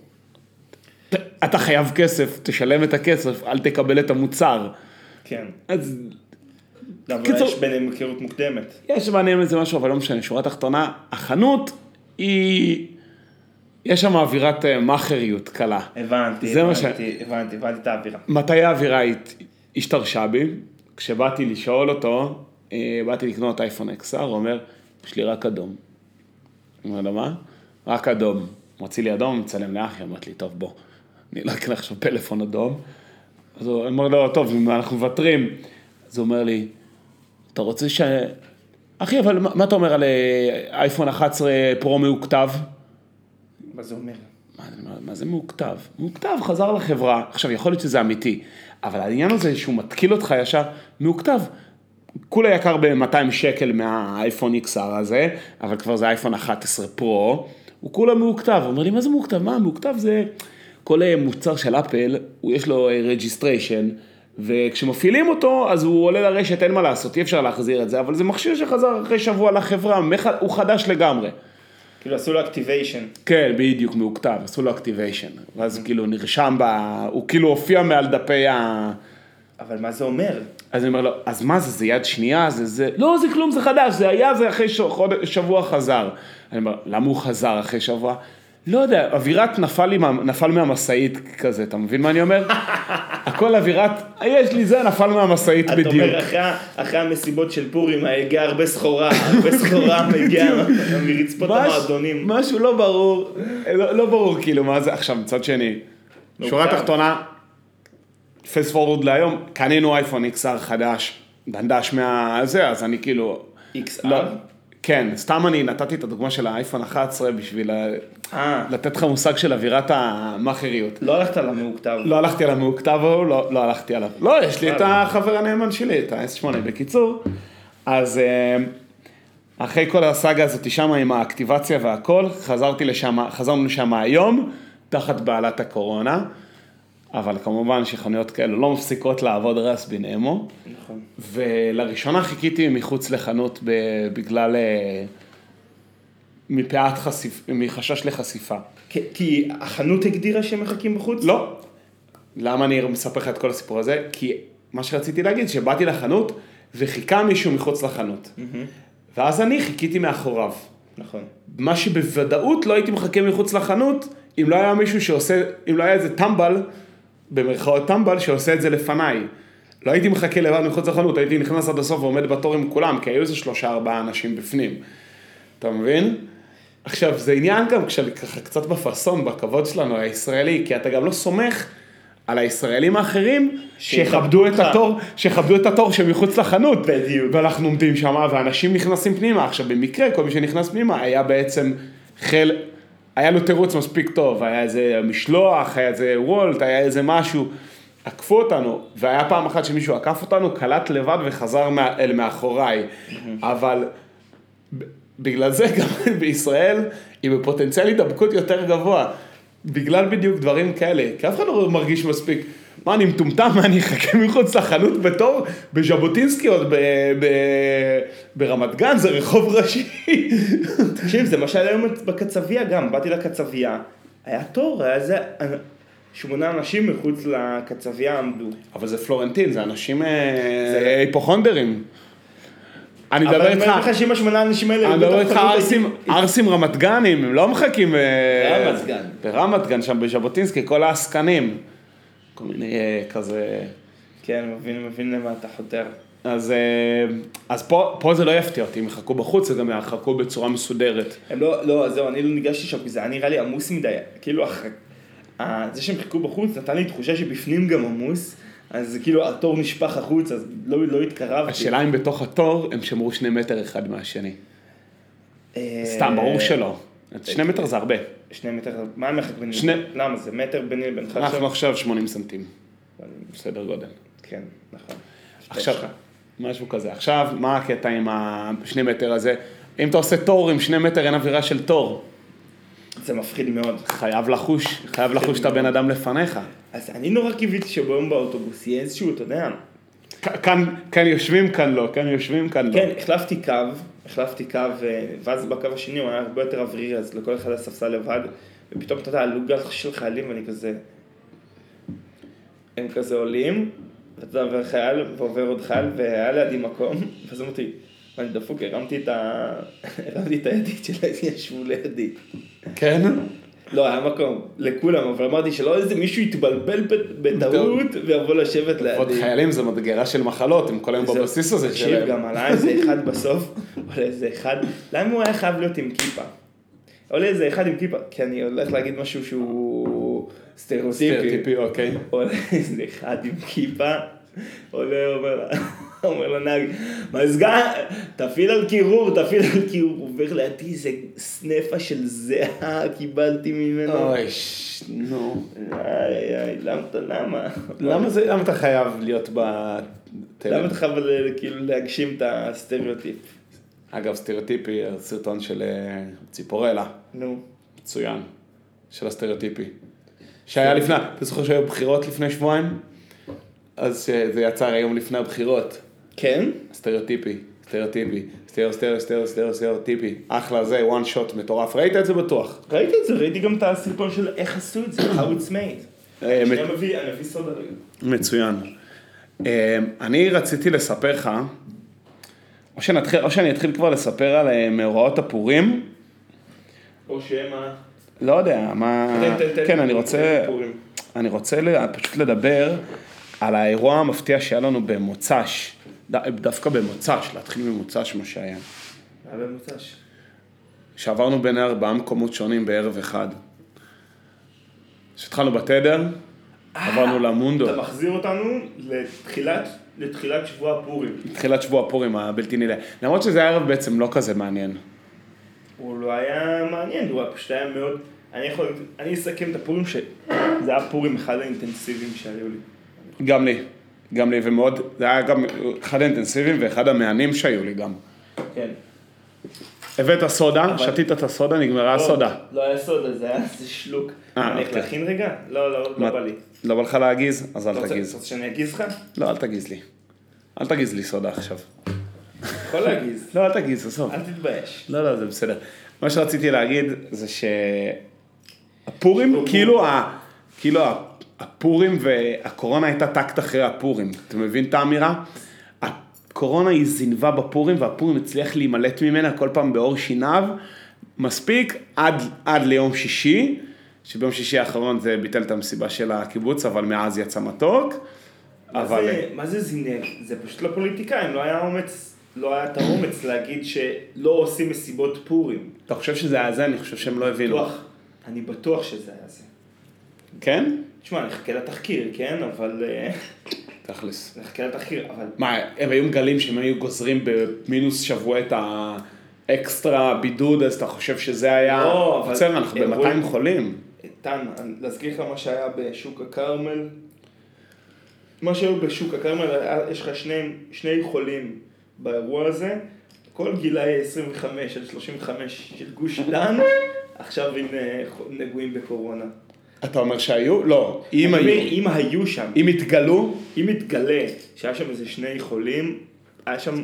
Speaker 2: "ת- אתה חייב כסף, תשלם את הכסף, אל תקבל את המוצר.
Speaker 1: כן.
Speaker 2: אז
Speaker 1: לא, אבל
Speaker 2: קיצור-
Speaker 1: יש ביניהם היכרות מוקדמת.
Speaker 2: יש ביניהם איזה משהו, אבל לא משנה, שורה תחתונה, החנות היא, יש שם אווירת אה, מאכריות קלה.
Speaker 1: הבנתי,
Speaker 2: זה מה ש-
Speaker 1: הבנתי, הבנתי, הבנתי את האווירה.
Speaker 2: מתי האווירה הת- השתרשה בי? כשבאתי לשאול אותו, אה, באתי לקנות אייפון XR, הוא אומר, יש לי רק אדום. אני אומר לו, מה? רק אדום. מוציא לי אדום, מצלם לאחי, אמרתי לי, טוב, בוא, אני לא אקנה עכשיו פלאפון אדום. אז הוא אומר לו, טוב, אם אנחנו מוותרים. אז הוא אומר לי, אתה רוצה ש... אחי, אבל מה, מה אתה אומר על אה, אייפון 11 פרו מעוקתב?
Speaker 1: מה זה אומר?
Speaker 2: מה, מה, מה זה מעוכתב? מעוכתב חזר לחברה, עכשיו יכול להיות שזה אמיתי, אבל העניין הזה שהוא מתקיל אותך ישר, מעוכתב. כולה יקר ב-200 שקל מהאייפון XR הזה, אבל כבר זה אייפון 11 פרו, הוא כולה מעוכתב, הוא אומר לי, מה זה מעוכתב? מה, מעוכתב זה כל אה, מוצר של אפל, הוא יש לו רג'יסטריישן, וכשמפעילים אותו, אז הוא עולה לרשת, אין מה לעשות, אי אפשר להחזיר את זה, אבל זה מכשיר שחזר אחרי שבוע לחברה, מח- הוא חדש לגמרי.
Speaker 1: כאילו עשו לו אקטיביישן.
Speaker 2: כן, בדיוק, מהוכתב, עשו לו אקטיביישן. ואז כאילו נרשם ב... הוא כאילו הופיע מעל דפי ה...
Speaker 1: אבל מה זה אומר?
Speaker 2: אז אני אומר לו, אז מה זה, זה יד שנייה, זה זה, לא, זה כלום, זה חדש, זה היה, זה אחרי ש... חוד... שבוע חזר. אני אומר, למה הוא חזר אחרי שבוע? לא יודע, אווירת נפל, לי, מה- נפל מהמשאית כזה, אתה מבין מה אני אומר? הכל אווירת, אה, יש לי זה, נפל מהמשאית
Speaker 1: אתה
Speaker 2: בדיוק.
Speaker 1: אומר, אחרי, אחרי המסיבות של פורים הגיעה הרבה סחורה, הרבה סחורה הגיעה מרצפות
Speaker 2: מש-
Speaker 1: המועדונים.
Speaker 2: משהו לא ברור, לא, לא ברור כאילו מה זה, עכשיו מצד שני,
Speaker 1: נו,
Speaker 2: שורה
Speaker 1: כן.
Speaker 2: תחתונה, פייס פורוורד להיום, קנינו אייפון XR חדש, דנדש מהזה, אז אני כאילו,
Speaker 1: XR?
Speaker 2: לא, כן, סתם אני נתתי את הדוגמה של האייפון 11 בשביל ה-
Speaker 1: אה,
Speaker 2: לתת לך מושג של אווירת המאכריות.
Speaker 1: לא הלכת למעוקתב.
Speaker 2: לא הלכתי על המעוקתב ההוא, לא, לא הלכתי עליו. לא, יש לי את
Speaker 1: וואלה.
Speaker 2: החבר הנאמן שלי, את ה-S8. בקיצור, אז אה, אחרי כל הסאגה הזאת שמה עם האקטיבציה והכל, חזרתי לשם, חזרנו לשם היום, תחת בעלת הקורונה, אבל כמובן שחנויות כאלו לא מפסיקות לעבוד רס בנאמו,
Speaker 1: נכון.
Speaker 2: ולראשונה חיכיתי מחוץ לחנות ב- בגלל... אה, מפאת חשיפ... מחשש לחשיפה.
Speaker 1: כי- כי החנות הגדירה שהם מחכים בחוץ?
Speaker 2: לא. למה אני מספר לך את כל הסיפור הזה? כי מה שרציתי להגיד, שבאתי לחנות וחיכה מישהו מחוץ לחנות. ואז אני חיכיתי מאחוריו.
Speaker 1: נכון.
Speaker 2: מה שבוודאות לא הייתי מחכה מחוץ לחנות, אם לא היה מישהו שעושה, אם לא היה איזה טמבל, במרכאות טמבל, שעושה את זה לפניי. לא הייתי מחכה לבד מחוץ לחנות, הייתי נכנס עד הסוף ועומד בתור עם כולם, כי היו איזה שלושה ארבעה אנשים בפנים. אתה מבין? עכשיו, זה עניין גם כשאני ככה קצת בפאסון, בכבוד שלנו הישראלי, כי אתה גם לא סומך על הישראלים האחרים שיכבדו את
Speaker 1: אותך.
Speaker 2: התור, שיכבדו את התור שמחוץ לחנות.
Speaker 1: בדיוק.
Speaker 2: ואנחנו עומדים שם, ואנשים נכנסים פנימה. עכשיו, במקרה, כל מי שנכנס פנימה היה בעצם חיל... היה לו תירוץ מספיק טוב, היה איזה משלוח, היה איזה וולט, היה איזה משהו. עקפו אותנו, והיה פעם אחת שמישהו עקף אותנו, קלט לבד וחזר מה, אל מאחוריי. אבל בגלל זה גם בישראל היא בפוטנציאל הידבקות יותר גבוה. בגלל בדיוק דברים כאלה, כי אף אחד לא מרגיש מספיק. מה, אני מטומטם, מה, אני אחכה מחוץ לחנות בתור בז'בוטינסקי עוד ב- ב- ברמת גן, זה רחוב ראשי.
Speaker 1: תקשיב, זה מה שהיה היום בקצבייה גם, באתי לקצבייה, היה תור, היה איזה שמונה אנשים מחוץ לקצבייה עמדו.
Speaker 2: אבל זה פלורנטין, זה אנשים
Speaker 1: זה- לא-
Speaker 2: אה, היפוכונדרים. אני
Speaker 1: אבל
Speaker 2: מדבר
Speaker 1: אני אומר
Speaker 2: איתך,
Speaker 1: לך שאם השמונה האנשים האלה... לא
Speaker 2: אני
Speaker 1: היו
Speaker 2: מדבר
Speaker 1: בתוך
Speaker 2: איתך
Speaker 1: חנות,
Speaker 2: ערסים, ערסים רמת גנים, הם לא מחכים... אה,
Speaker 1: ברמת גן.
Speaker 2: ברמת גן, שם בז'בוטינסקי, כל העסקנים. כל מיני אה, כזה...
Speaker 1: הייתי- כן, מבין, מבין למה אתה חותר.
Speaker 2: אז, אה, אז פה, פה זה לא יפתיע אותי, אם יחכו בחוץ, זה גם יחכו בצורה מסודרת.
Speaker 1: הם לא, לא, זהו, אני לא ניגשתי שם, כי זה היה נראה לי עמוס מדי, כאילו, הח... ה- זה שהם חיכו בחוץ נתן לי תחושה שבפנים גם עמוס, אז כאילו התור נשפך החוץ, אז לא, לא התקרבתי.
Speaker 2: השאלה אם בתוך התור הם שמרו שני מטר אחד מהשני.
Speaker 1: אה,
Speaker 2: סתם, ברור שלא. שני מטר זה הרבה.
Speaker 1: שני מטר, מה המרחק ביני?
Speaker 2: שני-
Speaker 1: למה זה מטר ביני לבינך
Speaker 2: אנחנו
Speaker 1: עכשיו?
Speaker 2: עכשיו 80 סנטים, בסדר גודל.
Speaker 1: כן, נכון.
Speaker 2: עכשיו, משהו כזה. עכשיו, מה הקטע עם השני מטר הזה? אם אתה עושה תור עם שני מטר, אין אווירה של תור.
Speaker 1: זה מפחיד מאוד.
Speaker 2: חייב לחוש,
Speaker 1: כן.
Speaker 2: חייב לחוש את הבן אדם לפניך.
Speaker 1: אז אני נורא קיוויתי שביום באוטובוס יהיה איזשהו, אתה יודע,
Speaker 2: כ- כאן, כאן יושבים, כאן לא, כאן יושבים, כאן לא.
Speaker 1: כן, החלפתי קו, החלפתי קו, אה, ואז בקו השני הוא היה הרבה יותר אוורירי, אז לכל אחד היה ספסל לבד, ופתאום אתה יודע, עלו גל של חיילים ואני כזה... הם כזה עולים, ואתה עובר חייל, ועובר עוד חייל, והיה לידי מקום, ואז אמרתי, אני דפוק, הרמתי את ה... הרמתי את הידית שלהם, ישבו לידי.
Speaker 2: כן?
Speaker 1: לא, היה מקום, לכולם, אבל אמרתי שלא איזה מישהו יתבלבל בת- בטעות ויבוא לשבת
Speaker 2: עוד
Speaker 1: לידי.
Speaker 2: חיילים זה מדגרה של מחלות, הם כל היום
Speaker 1: זה-
Speaker 2: בבסיס הזה
Speaker 1: תקשיב,
Speaker 2: שלהם.
Speaker 1: גם עלה איזה אחד בסוף, עולה איזה אחד, למה הוא היה חייב להיות עם כיפה? עולה איזה אחד עם כיפה, כי אני הולך להגיד משהו שהוא סטריאוטיפי.
Speaker 2: סטריאוטיפי, אוקיי.
Speaker 1: עולה איזה אחד עם כיפה, עולה, אומר, אומר לנהג, מזגן, תפעיל על קירור, תפעיל על קירור, עובר לידי איזה סנפה של זהה קיבלתי ממנו.
Speaker 2: אוי, ש- נו.
Speaker 1: איי, איי, למה אתה, למה?
Speaker 2: למה זה, למה אתה חייב להיות בטלם?
Speaker 1: למה אתה חייב ל- כאילו להגשים את הסטריאוטיפ?
Speaker 2: אגב, סטריאוטיפי, סרטון של אה, ציפורלה,
Speaker 1: נו.
Speaker 2: מצוין, של הסטריאוטיפי. שהיה לפני, אתה זוכר שהיו בחירות לפני שבועיים? אז אה, זה יצא היום לפני הבחירות.
Speaker 1: כן?
Speaker 2: סטריאוטיפי, סטריאוטיפי, סטריאו, סטריאו, סטריאו, סטריאו, סטריאוטיפי. אחלה זה, one shot מטורף. ראית את זה בטוח.
Speaker 1: ראיתי את זה, ראיתי גם את הסרטון של איך עשו את זה, How it's made.
Speaker 2: אה,
Speaker 1: שנייה, מביא- אני אביא סודה רגע.
Speaker 2: מצוין. אה, אני רציתי לספר לך, או, שנתחיל, או שאני אתחיל כבר לספר על אה, מאורעות הפורים,
Speaker 1: או שמא...
Speaker 2: לא יודע, מה...
Speaker 1: תן, תן, תן.
Speaker 2: כן, אני רוצה,
Speaker 1: פורים.
Speaker 2: אני רוצה ל- פשוט לדבר על האירוע המפתיע שהיה לנו במוצ"ש, ד- דווקא במוצ"ש, להתחיל ממוצ"ש מה שהיה.
Speaker 1: היה במוצ"ש.
Speaker 2: שעברנו בין ארבעה מקומות שונים בערב אחד. כשהתחלנו בתדר,
Speaker 1: אה,
Speaker 2: עברנו למונדו.
Speaker 1: אתה מחזיר אותנו לתחילת, לתחילת שבוע הפורים.
Speaker 2: תחילת שבוע הפורים הבלתי נראה. למרות שזה היה ערב בעצם לא כזה מעניין.
Speaker 1: הוא לא היה מעניין, הוא היה פשוט היה מאוד... אני יכול... אני אסכם את הפורים ש... זה היה פורים אחד האינטנסיביים שהיו לי.
Speaker 2: גם לי. גם לי, ומאוד, זה היה גם אחד האינטנסיביים ואחד המהנים שהיו לי גם.
Speaker 1: כן.
Speaker 2: הבאת סודה,
Speaker 1: אבל-
Speaker 2: שתית את הסודה, נגמרה הסודה.
Speaker 1: לא היה סודה, זה היה איזה שלוק.
Speaker 2: אה,
Speaker 1: אני הולך
Speaker 2: אוקיי.
Speaker 1: להכין רגע? לא, לא, לא
Speaker 2: מה-
Speaker 1: בא לי.
Speaker 2: לא בא לך להגיז? אז
Speaker 1: אתה
Speaker 2: אל
Speaker 1: רוצה-
Speaker 2: תגיז.
Speaker 1: אתה רוצה שאני אגיז לך?
Speaker 2: לא, אל תגיז לי. אל תגיז לי סודה עכשיו.
Speaker 1: יכול להגיז.
Speaker 2: לא, אל תגיז, עזוב.
Speaker 1: אל תתבייש.
Speaker 2: לא, לא, זה בסדר. מה שרציתי להגיד זה שהפורים, כאילו, ה... כאילו ה- הפורים והקורונה הייתה טקט אחרי הפורים. אתה מבין את האמירה? הקורונה היא זינבה בפורים והפורים הצליח להימלט ממנה כל פעם בעור שיניו. מספיק עד, עד ליום שישי, שביום שישי האחרון זה ביטל את המסיבה של הקיבוץ, אבל מאז יצא מתוק.
Speaker 1: מה
Speaker 2: אבל...
Speaker 1: זה- מה זה זינב? זה פשוט לא פוליטיקאים, לא היה אומץ, לא היה את האומץ להגיד שלא עושים מסיבות פורים.
Speaker 2: אתה חושב שזה היה זה? אני חושב שהם לא הבינו.
Speaker 1: בטוח, אני בטוח שזה היה זה.
Speaker 2: כן?
Speaker 1: תשמע, נחכה לתחקיר, כן? אבל... אה,
Speaker 2: תכלס.
Speaker 1: נחכה לתחקיר, אבל...
Speaker 2: מה, הם היו מגלים שהם היו גוזרים במינוס שבוע את האקסטרה בידוד, אז אתה חושב שזה היה...
Speaker 1: לא, אבל-
Speaker 2: בסדר, אנחנו
Speaker 1: אירוע-
Speaker 2: ב-200 חולים.
Speaker 1: איתן, אה, אני- להזכיר לך מה שהיה בשוק הכרמל? מה שהיו בשוק הכרמל, היה- יש לך שני, שני חולים באירוע הזה, כל גילאי 25 עד 35 של גוש דן, עכשיו הם אה, ח- נגועים בקורונה.
Speaker 2: אתה אומר שהיו? לא. אם
Speaker 1: אני אומר,
Speaker 2: היו.
Speaker 1: אם היו שם,
Speaker 2: אם התגלו,
Speaker 1: אם יתגלה שהיה שם איזה שני חולים, היה שם...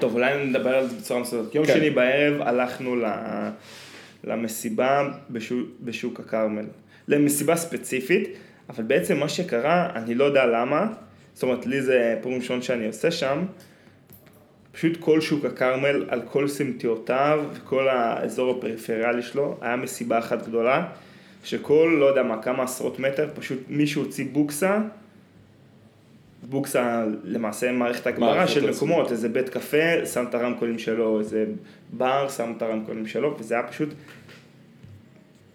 Speaker 1: טוב, אולי נדבר על זה בצורה מסודרת. יום
Speaker 2: כן.
Speaker 1: שני בערב הלכנו ל... למסיבה בשוק, בשוק הכרמל. למסיבה ספציפית, אבל בעצם מה שקרה, אני לא יודע למה, זאת אומרת, לי זה פעם ראשון שאני עושה שם, פשוט כל שוק הכרמל, על כל סמטיותיו, כל האזור הפריפריאלי שלו, היה מסיבה אחת גדולה, שכל, לא יודע מה, כמה עשרות מטר, פשוט מישהו הוציא בוקסה, בוקסה למעשה מערכת הגברה
Speaker 2: מערכת
Speaker 1: של
Speaker 2: עצמית.
Speaker 1: מקומות, איזה בית קפה, שם את הרמקולים שלו, איזה בר, שם את הרמקולים שלו, וזה היה פשוט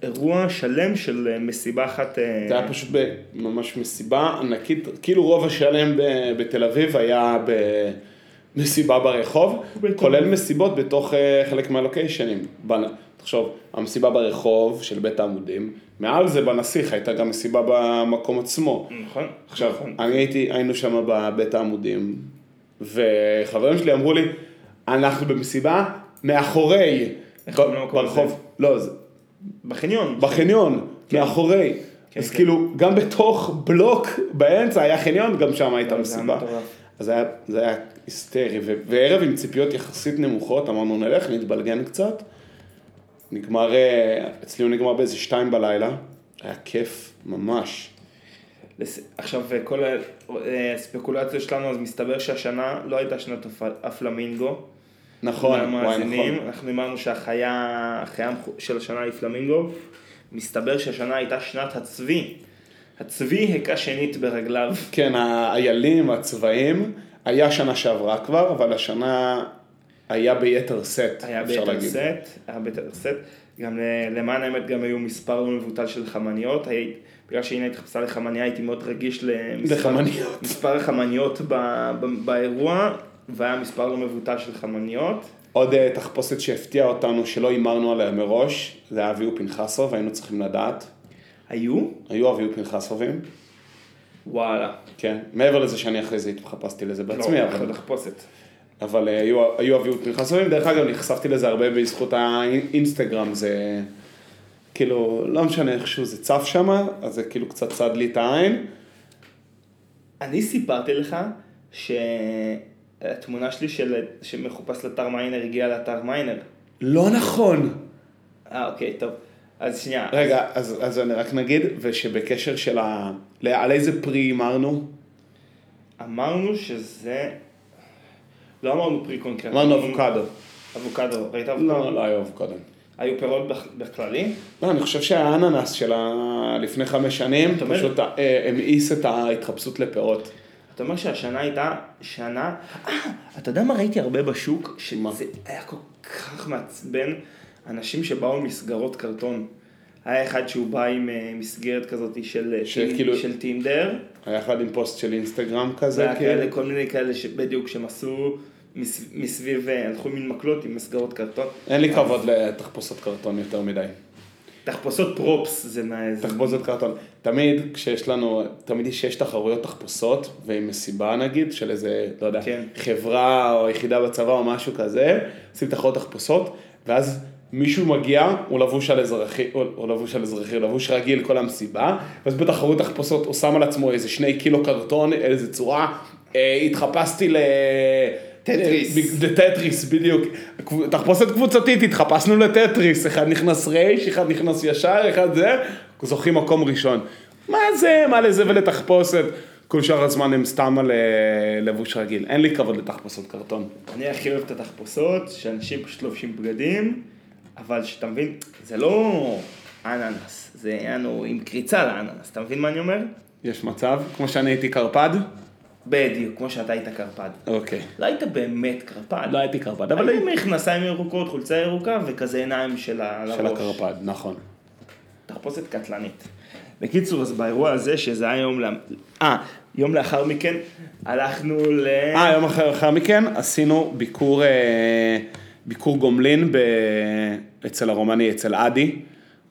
Speaker 1: אירוע שלם של אה, מסיבה אחת. אה,
Speaker 2: זה היה פשוט ב- ממש מסיבה ענקית, כאילו רוב השלם ב- בתל אביב היה במסיבה ברחוב,
Speaker 1: בתוך-
Speaker 2: כולל מסיבות בתוך אה, חלק מהלוקיישנים. בנ- תחשוב, המסיבה ברחוב של בית העמודים, מעל זה בנסיך הייתה גם מסיבה במקום עצמו.
Speaker 1: נכון,
Speaker 2: עכשיו,
Speaker 1: נכון.
Speaker 2: אני הייתי, היינו שם בבית העמודים, וחברים שלי אמרו לי, אנחנו במסיבה מאחורי,
Speaker 1: איך
Speaker 2: ב-
Speaker 1: קוראים למקום הזה?
Speaker 2: ברחוב, לא, זה-
Speaker 1: בחניון.
Speaker 2: בחניון, מאחורי. אז
Speaker 1: כן.
Speaker 2: כאילו, גם בתוך בלוק באמצע היה חניון, גם שם הייתה
Speaker 1: אה, זה היה
Speaker 2: מסיבה.
Speaker 1: מטורף.
Speaker 2: אז היה- זה היה היסטרי, ו- וערב עם ציפיות יחסית נמוכות, אמרנו נלך, נתבלגן קצת. נגמר, אה, אצלי הוא נגמר באיזה שתיים בלילה, היה כיף ממש.
Speaker 1: לס- עכשיו, אה, כל הספקולציה שלנו, אז מסתבר שהשנה לא הייתה שנת הפ- הפלמינגו.
Speaker 2: נכון, וואי נכון.
Speaker 1: למאזינים, אנחנו אמרנו שהחיה החיה המכו- של השנה היא פלמינגו. מסתבר שהשנה הייתה שנת הצבי. הצבי הכה שנית ברגליו.
Speaker 2: כן, האיילים, הצבעים, היה שנה שעברה כבר, אבל השנה היה ביתר סט,
Speaker 1: היה
Speaker 2: אפשר
Speaker 1: ביתר
Speaker 2: להגיד.
Speaker 1: סט, היה ביתר סט, גם ל- למען האמת גם היו מספר לא מבוטל של חמניות, הי- בגלל שהנה התחפשה לחמניה הייתי מאוד רגיש למספר
Speaker 2: לחמניות.
Speaker 1: מספר החמניות ב- ב- באירוע, והיה מספר לא מבוטל של חמניות,
Speaker 2: עוד אה, תחפושת שהפתיעה אותנו, שלא הימרנו עליה מראש, זה היה אביהו פנחסוב, היינו צריכים לדעת.
Speaker 1: היו?
Speaker 2: היו אביהו פנחסובים,
Speaker 1: וואלה,
Speaker 2: כן. מעבר לזה שאני אחרי זה התחפשתי לזה בעצמי,
Speaker 1: לא,
Speaker 2: אבל,
Speaker 1: אחלה תחפושת.
Speaker 2: אבל אה, היו, היו אביהו פנחסובים. דרך אגב, נחשפתי לזה הרבה בזכות האינסטגרם, זה כאילו, לא משנה איכשהו זה צף שם, אז זה כאילו קצת צד לי את העין.
Speaker 1: אני סיפרתי לך שהתמונה שלי של... שמחופש לאתר מיינר הגיעה לאתר מיינר.
Speaker 2: לא נכון.
Speaker 1: אה, אוקיי, טוב. אז שנייה.
Speaker 2: רגע, אז, אז אני רק נגיד, ושבקשר של ה... לא, על איזה פרי הימרנו?
Speaker 1: אמרנו שזה... לא אמרנו פרי קונקרט.
Speaker 2: אמרנו אבוקדו.
Speaker 1: אבוקדו, ראית
Speaker 2: לא,
Speaker 1: אבוקדו?
Speaker 2: לא היו אבוקדו.
Speaker 1: היו פירות בכ- בכללי?
Speaker 2: לא, אני חושב שהאננס של ה- לפני חמש שנים,
Speaker 1: אתה אומר?
Speaker 2: פשוט אה, המאיס את ההתחפשות לפירות.
Speaker 1: אתה אומר שהשנה הייתה שנה... אה, אתה יודע מה ראיתי הרבה בשוק?
Speaker 2: מה?
Speaker 1: שזה היה כל כך מעצבן. אנשים שבאו עם מסגרות קרטון. היה אחד שהוא בא עם אה, מסגרת כזאת של, אה,
Speaker 2: של
Speaker 1: טין-
Speaker 2: כאילו-
Speaker 1: של טינדר.
Speaker 2: היה אחד עם פוסט של אינסטגרם כזה,
Speaker 1: זה
Speaker 2: כאילו.
Speaker 1: כאלה, כל מיני כאלה שבדיוק, שהם עשו מס- מסביב, אה, הלכו מין מקלות עם מסגרות קרטון.
Speaker 2: אין לי כבוד לתחפושת קרטון יותר מדי.
Speaker 1: תחפושות פרופס זה מה... זה-
Speaker 2: תחפושת קרטון. תמיד כשיש לנו, תמיד יש תחרויות תחפושות, ועם מסיבה נגיד, של איזה, לא יודע,
Speaker 1: כן.
Speaker 2: חברה או יחידה בצבא או משהו כזה, עושים תחרויות תחפושות, ואז מישהו מגיע, הוא לבוש על אזרחי, הוא הוא לבוש על אזרחי, הוא לבוש רגיל כל המסיבה, ואז בתחרות תחפושות הוא שם על עצמו איזה שני קילו קרטון, איזה צורה, אה, התחפשתי ל...
Speaker 1: טטריס.
Speaker 2: בג- אה, לטטריס, בדיוק. קבו- תחפושת קבוצתית, התחפשנו לטטריס, אחד נכנס רייש, אחד נכנס ישר, אחד זה, זוכים מקום ראשון. מה זה, מה לזה ולתחפושת? כל שאר הזמן הם סתם על אה, לבוש רגיל. אין לי כבוד לתחפושות קרטון.
Speaker 1: אני הכי אוהב את התחפושות, שאנשים פשוט לובשים בגדים, אבל שאתה מבין, זה לא אננס, זה יענו עם קריצה לאננס, אתה מבין מה אני אומר?
Speaker 2: יש מצב, כמו שאני הייתי קרפד?
Speaker 1: בדיוק, כמו שאתה היית קרפד.
Speaker 2: אוקיי.
Speaker 1: לא היית באמת קרפד.
Speaker 2: לא הייתי קרפד,
Speaker 1: אבל
Speaker 2: אבל
Speaker 1: היית מכנסיים ירוקות, חולצה ירוקה וכזה עיניים של ה-
Speaker 2: של
Speaker 1: לראש.
Speaker 2: הקרפד, נכון.
Speaker 1: תחפושת קטלנית. בקיצור, אז באירוע הזה, שזה היה יום, ל- אה, יום לאחר מכן, הלכנו ל...
Speaker 2: אה, יום אחר, אחר מכן עשינו ביקור, אה, ביקור גומלין ב... אצל הרומני, אצל אדי,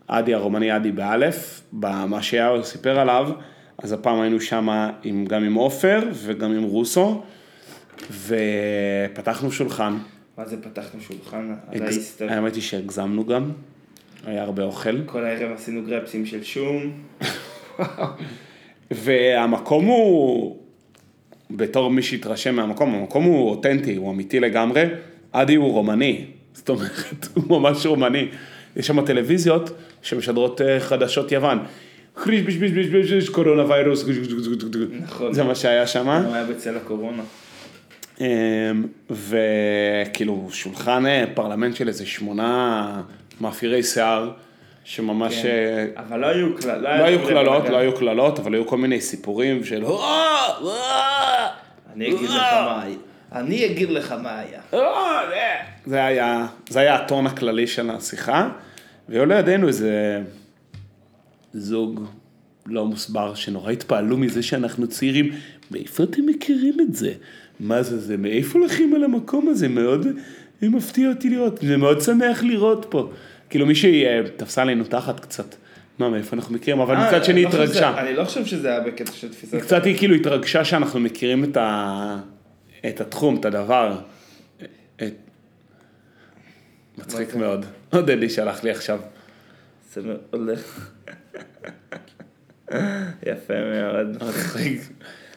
Speaker 2: אדי הרומני, אדי באלף, במה שיאו סיפר עליו, אז הפעם היינו שם עם, גם עם עופר וגם עם רוסו, ופתחנו שולחן.
Speaker 1: מה זה פתחנו שולחן? על
Speaker 2: הגז-
Speaker 1: ההיסטוריה.
Speaker 2: האמת היא שהגזמנו גם, היה הרבה אוכל.
Speaker 1: כל הערב עשינו גרפסים של שום.
Speaker 2: והמקום הוא, בתור מי שהתרשם מהמקום, המקום הוא אותנטי, הוא אמיתי לגמרי. אדי הוא רומני, זאת אומרת, הוא ממש רומני. יש שם טלוויזיות שמשדרות אה, חדשות יוון. חריש ביש ביש ביש ביש ביש קורונה ויירוס, גוש, גוש, גוש, גוש, גוש.
Speaker 1: נכון.
Speaker 2: זה מה שהיה שם.
Speaker 1: הוא לא היה בצל הקורונה.
Speaker 2: אמ, וכאילו שולחן אה, פרלמנט של איזה שמונה מאפירי שיער, שממש אה,
Speaker 1: אבל לא היו קללות.
Speaker 2: לא היו קללות, לא היו קללות, אבל היו כל מיני סיפורים של "אה, אה,
Speaker 1: אני אגיד לך מה היה. אה! אני אגיד לך מה היה.
Speaker 2: אה, אה." זה היה, זה היה הטון הכללי של השיחה, והיו לידינו איזה זוג לא מוסבר, שנורא התפעלו מזה שאנחנו צעירים, מאיפה אתם מכירים את זה? מה זה זה, מאיפה לכם על המקום הזה? מאוד אה, מפתיע אותי לראות, זה מאוד שמח לראות פה. כאילו מישהי אה, תפסה לנו תחת קצת, מה, מאיפה אנחנו מכירים, אבל
Speaker 1: אה,
Speaker 2: מצד
Speaker 1: אני
Speaker 2: שני
Speaker 1: לא חושב
Speaker 2: התרגשה.
Speaker 1: שזה- אני לא חושב שזה היה בקטע של תפיסת...
Speaker 2: היא קצת היא כאילו התרגשה שאנחנו מכירים את, ה... את התחום, את הדבר. את... מצחיק
Speaker 1: זה?
Speaker 2: מאוד. עוד אלי שלח לי עכשיו.
Speaker 1: זה הולך. יפה מאוד.
Speaker 2: מצחיק.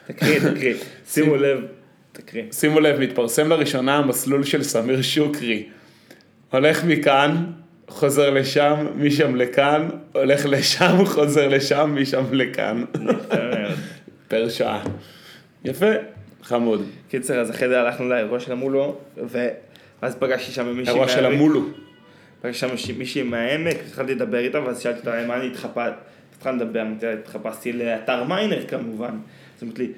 Speaker 1: תקריא, תקריא. שימו לב. תקריא.
Speaker 2: שימו לב, מתפרסם לראשונה המסלול של סמיר שוקרי. הולך מכאן, חוזר לשם, משם לכאן, הולך לשם, חוזר לשם, משם לכאן.
Speaker 1: יפה מאוד.
Speaker 2: פר שעה. יפה, חמוד.
Speaker 1: קיצר, אז אחרי זה הלכנו לאירוע של המולו, ו- ואז פגשתי שם מישהי
Speaker 2: אירוע של
Speaker 1: מהעמק.
Speaker 2: המולו.
Speaker 1: פגשתי שם מישהי- מישהי מהעמק, התחלתי לדבר איתה, ואז שאלתי אותה, "אה, מה אני התחפש? התחלנו לדבר, אמרתי לה, התחפשתי לאתר מיינר כמובן. אז אמרתי לי,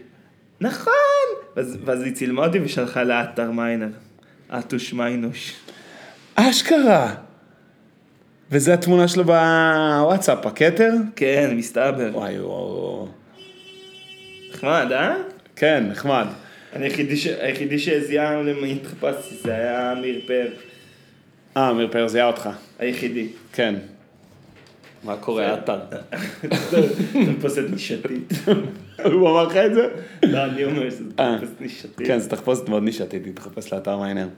Speaker 1: נכון! ואז ואז היא צילמה אותי ושלחה לאתר מיינר. אטוש מיינוש.
Speaker 2: אשכרה. וזו התמונה שלו בוואטסאפ, הכתר?
Speaker 1: כן, מסתבר.
Speaker 2: וואי, וואו.
Speaker 1: נחמד, אה?
Speaker 2: כן, נחמד.
Speaker 1: אני היחידי ש- היחידי שזיהה למה התחפשתי, זה היה אמיר פאר.
Speaker 2: אה, עמיר פאר זיהה אותך.
Speaker 1: היחידי.
Speaker 2: כן. מה קורה, עטר?
Speaker 1: זה תחפושת נישתית.
Speaker 2: הוא אמר לך את זה?
Speaker 1: לא, אני אומר שזה
Speaker 2: אה.
Speaker 1: תחפושת נישתית.
Speaker 2: כן, זו תחפושת מאוד נישתית, תתחפש לאתר מיינר.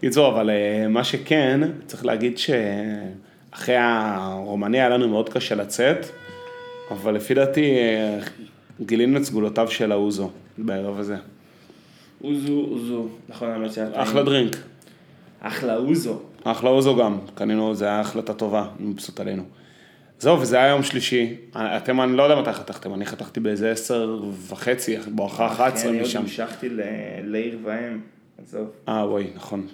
Speaker 2: קיצור, אבל אה, מה שכן, צריך להגיד שאחרי הרומניה היה לנו מאוד קשה לצאת, אבל לפי דעתי אה, גילינו את סגולותיו של האוזו בערב הזה.
Speaker 1: אוזו, אוזו. נכון, האמת שהיה טעים.
Speaker 2: אחלה דרינק.
Speaker 1: אחלה אוזו.
Speaker 2: אחלה אוזו גם, קנינו, זו הייתה החלטה טובה, אני מבסוט עלינו. זהו, וזה היה יום שלישי. אתם, אני לא יודע מתי חתכתם, אני חתכתי באיזה עשר וחצי, בואכה אחת עשרה
Speaker 1: כן, אני עוד
Speaker 2: משם.
Speaker 1: המשכתי ל- לעיר ואם, עזוב,
Speaker 2: אה, וואי, נכון.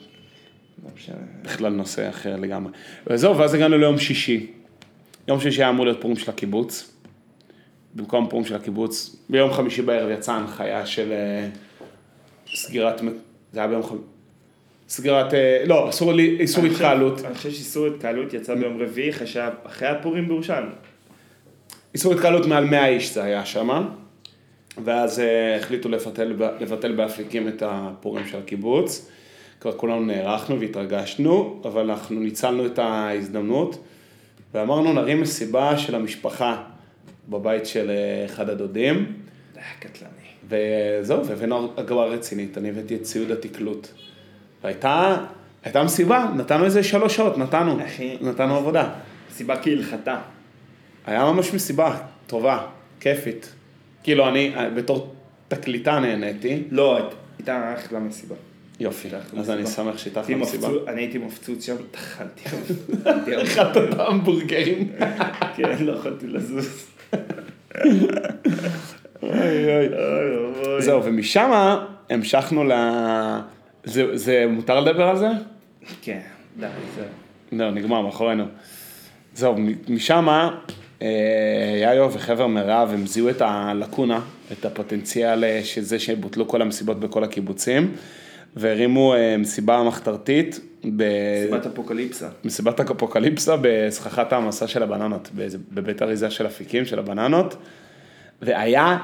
Speaker 1: לא משנה.
Speaker 2: בכלל נושא אחר לגמרי. וזהו, ואז הגענו ליום שישי. יום שישי היה אמור להיות פורים של הקיבוץ. במקום פורים של הקיבוץ, ביום חמישי בערב יצאה הנחיה של אה, סגירת, מק- זה היה ביום חמישי, סגירת, אה, לא, אסור לי- איסור
Speaker 1: אני חושב-
Speaker 2: התקהלות,
Speaker 1: אני חושב שאיסור התקהלות יצא ביום רביעי, אחרי שה- אחרי הפורים בירושלים.
Speaker 2: איסור התקהלות מעל 100 איש זה היה שם, ואז אה, החליטו לבטל, ב- לבטל באפיקים את הפורים של הקיבוץ. כבר כולנו נערכנו והתרגשנו, אבל אנחנו ניצלנו את ההזדמנות, ואמרנו נרים מסיבה של המשפחה בבית של אה, אחד הדודים,
Speaker 1: זה היה קטלני.
Speaker 2: וזהו, והבאנו הגבה רצינית, אני הבאתי את ציוד התקלוט. והייתה הייתה מסיבה, נתנו איזה שלוש שעות, נתנו,
Speaker 1: אחי.
Speaker 2: נתנו עבודה.
Speaker 1: סיבה כהלכתה.
Speaker 2: היה ממש מסיבה טובה, כיפית. כאילו, אני אה, בתור תקליטה נהניתי.
Speaker 1: לא, הי- הייתה אחלה מסיבה.
Speaker 2: יופי,
Speaker 1: הייתה
Speaker 2: אז אני
Speaker 1: מסיבה.
Speaker 2: שמח שהייתה
Speaker 1: הייתי
Speaker 2: לך מסיבה.
Speaker 1: מפצוץ- אני הייתי מפצוץ שם, טחנתי. טחנתי, אבל-
Speaker 2: אכלת את ההמבורגרים.
Speaker 1: כן, לא יכולתי לזוז. אוי אוי.
Speaker 2: זהו, ומשם המשכנו ל... זה, זה מותר לדבר על זה?
Speaker 1: כן, די, זהו.
Speaker 2: לא, נגמר, מאחורינו. זהו, מ- משם אה, יאיו וחבר מירב, הם זיהו את הלקונה, את הפוטנציאל אה, של זה שבוטלו כל המסיבות בכל הקיבוצים, והרימו אה, מסיבה מחתרתית. ב...
Speaker 1: סיבת אפוקליפסה.
Speaker 2: מסיבת אפוקליפסה בסככת העמסה של הבננות, באיזה- בבית אריזה של אפיקים של הבננות, והיה,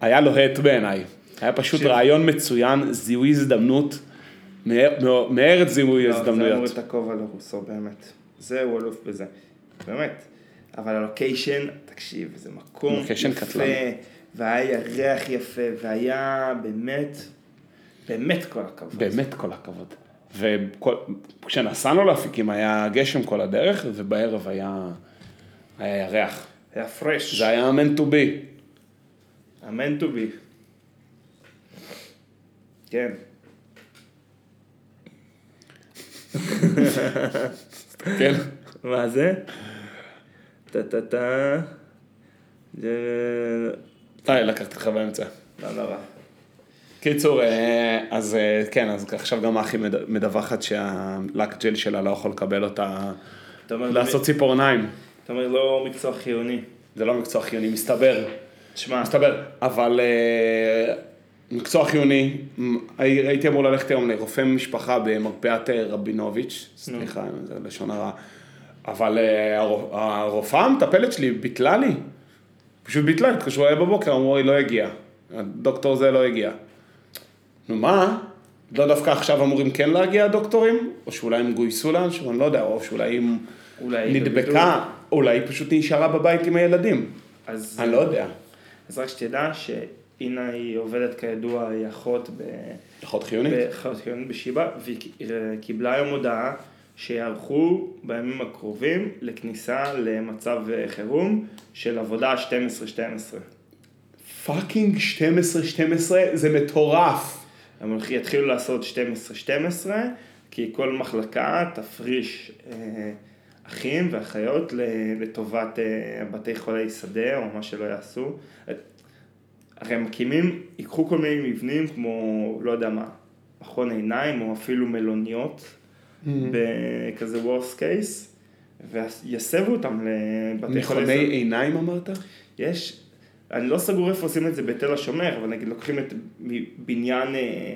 Speaker 2: היה לוהט בעיניי. היה פשוט
Speaker 1: תקשיב.
Speaker 2: רעיון מצוין, זיהוי הזדמנות, מאר- מאור- מארץ זיהוי
Speaker 1: לא, זה אמור
Speaker 2: הזדמנויות.
Speaker 1: את הכובע לרוסו, באמת. זה, הוא אלוף בזה. באמת. אבל הלוקיישן, תקשיב, זה מקום
Speaker 2: לוקיישן
Speaker 1: יפה,
Speaker 2: קטלני.
Speaker 1: והיה ירח יפה, והיה באמת, באמת כל הכבוד.
Speaker 2: באמת כל הכבוד. וכשנסענו לאפיקים היה גשם כל הדרך, ובערב היה, היה ירח.
Speaker 1: היה פרש.
Speaker 2: זה היה meant to be.
Speaker 1: אמן טו בי. כן.
Speaker 2: כן?
Speaker 1: מה זה? טה טה טה. זה-
Speaker 2: די, אה, לקחתי לך באמצע.
Speaker 1: לא נורא.
Speaker 2: קיצור, אה, אז אה, כן, אז עכשיו גם אחי מד- מדווחת שהלק ג'ל שלה לא יכול לקבל אותה,
Speaker 1: אתה אומר,
Speaker 2: לעשות ציפורניים.
Speaker 1: אתה אומר לא מקצוע חיוני.
Speaker 2: זה לא מקצוע חיוני, מסתבר.
Speaker 1: תשמע,
Speaker 2: מסתבר. אבל אה, מקצוע חיוני, מ- הי- הייתי אמור ללכת היום לרופא משפחה במרפאת אה, רבינוביץ', סליחה, זה לשון הרע. אבל אה, הרו- הרופאה המטפלת שלי ביטלה לי. פשוט ביטלה, התקשרו אליי בבוקר, אמרו, היא לא הגיעה. הדוקטור זה לא הגיע. נו מה? לא דווקא עכשיו אמורים כן להגיע הדוקטורים? או שאולי הם גויסו לאנשהו? אני לא יודע, או שאולי היא
Speaker 1: אולי היא
Speaker 2: נדבקה, אולי היא פשוט נשארה בבית עם הילדים.
Speaker 1: אז
Speaker 2: אני לא יודע.
Speaker 1: אז רק שתדע שאינה היא עובדת כידוע, היא אחות ב-
Speaker 2: אחות חיונית?
Speaker 1: באחות חיונית בשיבא, והיא ק- אה, קיבלה היום הודעה שיערכו בימים הקרובים לכניסה למצב אה, חירום של עבודה 12-12.
Speaker 2: פאקינג 12-12 זה מטורף.
Speaker 1: הם הולכים- יתחילו לעשות 12-12, כי כל מחלקה תפריש אה, אחים ואחיות ל- לטובת אה, בתי חולי שדה או מה שלא יעשו. אה, הרי הם מקימים, ייקחו כל מיני מבנים כמו, לא יודע מה, מכון עיניים או אפילו מלוניות, בכזה worst case, ויסבו אותם לבתי חולי
Speaker 2: מכוני
Speaker 1: שדה.
Speaker 2: עיניים אמרת?
Speaker 1: יש, אני לא סגור איפה עושים את זה בתל השומר, אבל נגיד לוקחים את מ- בניין אה,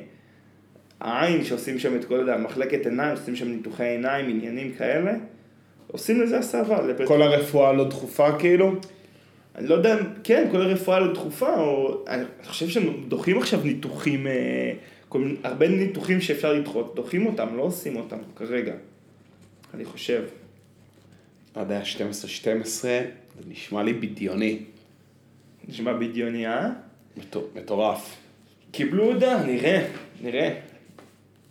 Speaker 1: העין, שעושים שם את כל, יודע, מחלקת עיניים, עושים שם ניתוחי עיניים, עניינים כאלה, עושים לזה הסבה. לבית... כל...
Speaker 2: כל הרפואה לא דחופה כאילו?
Speaker 1: אני לא יודע, אם- כן, כל הרפואה לא דחופה, או... אני חושב שהם דוחים עכשיו ניתוחים, אה, כל... מיני- הרבה ניתוחים שאפשר לדחות, דוחים אותם, לא עושים אותם כרגע, אני חושב.
Speaker 2: לא יודע, 12-12 זה נשמע לי בדיוני.
Speaker 1: נשמע בדיוני, אה?
Speaker 2: מטו- מטורף.
Speaker 1: קיבלו הודעה, נראה, נראה.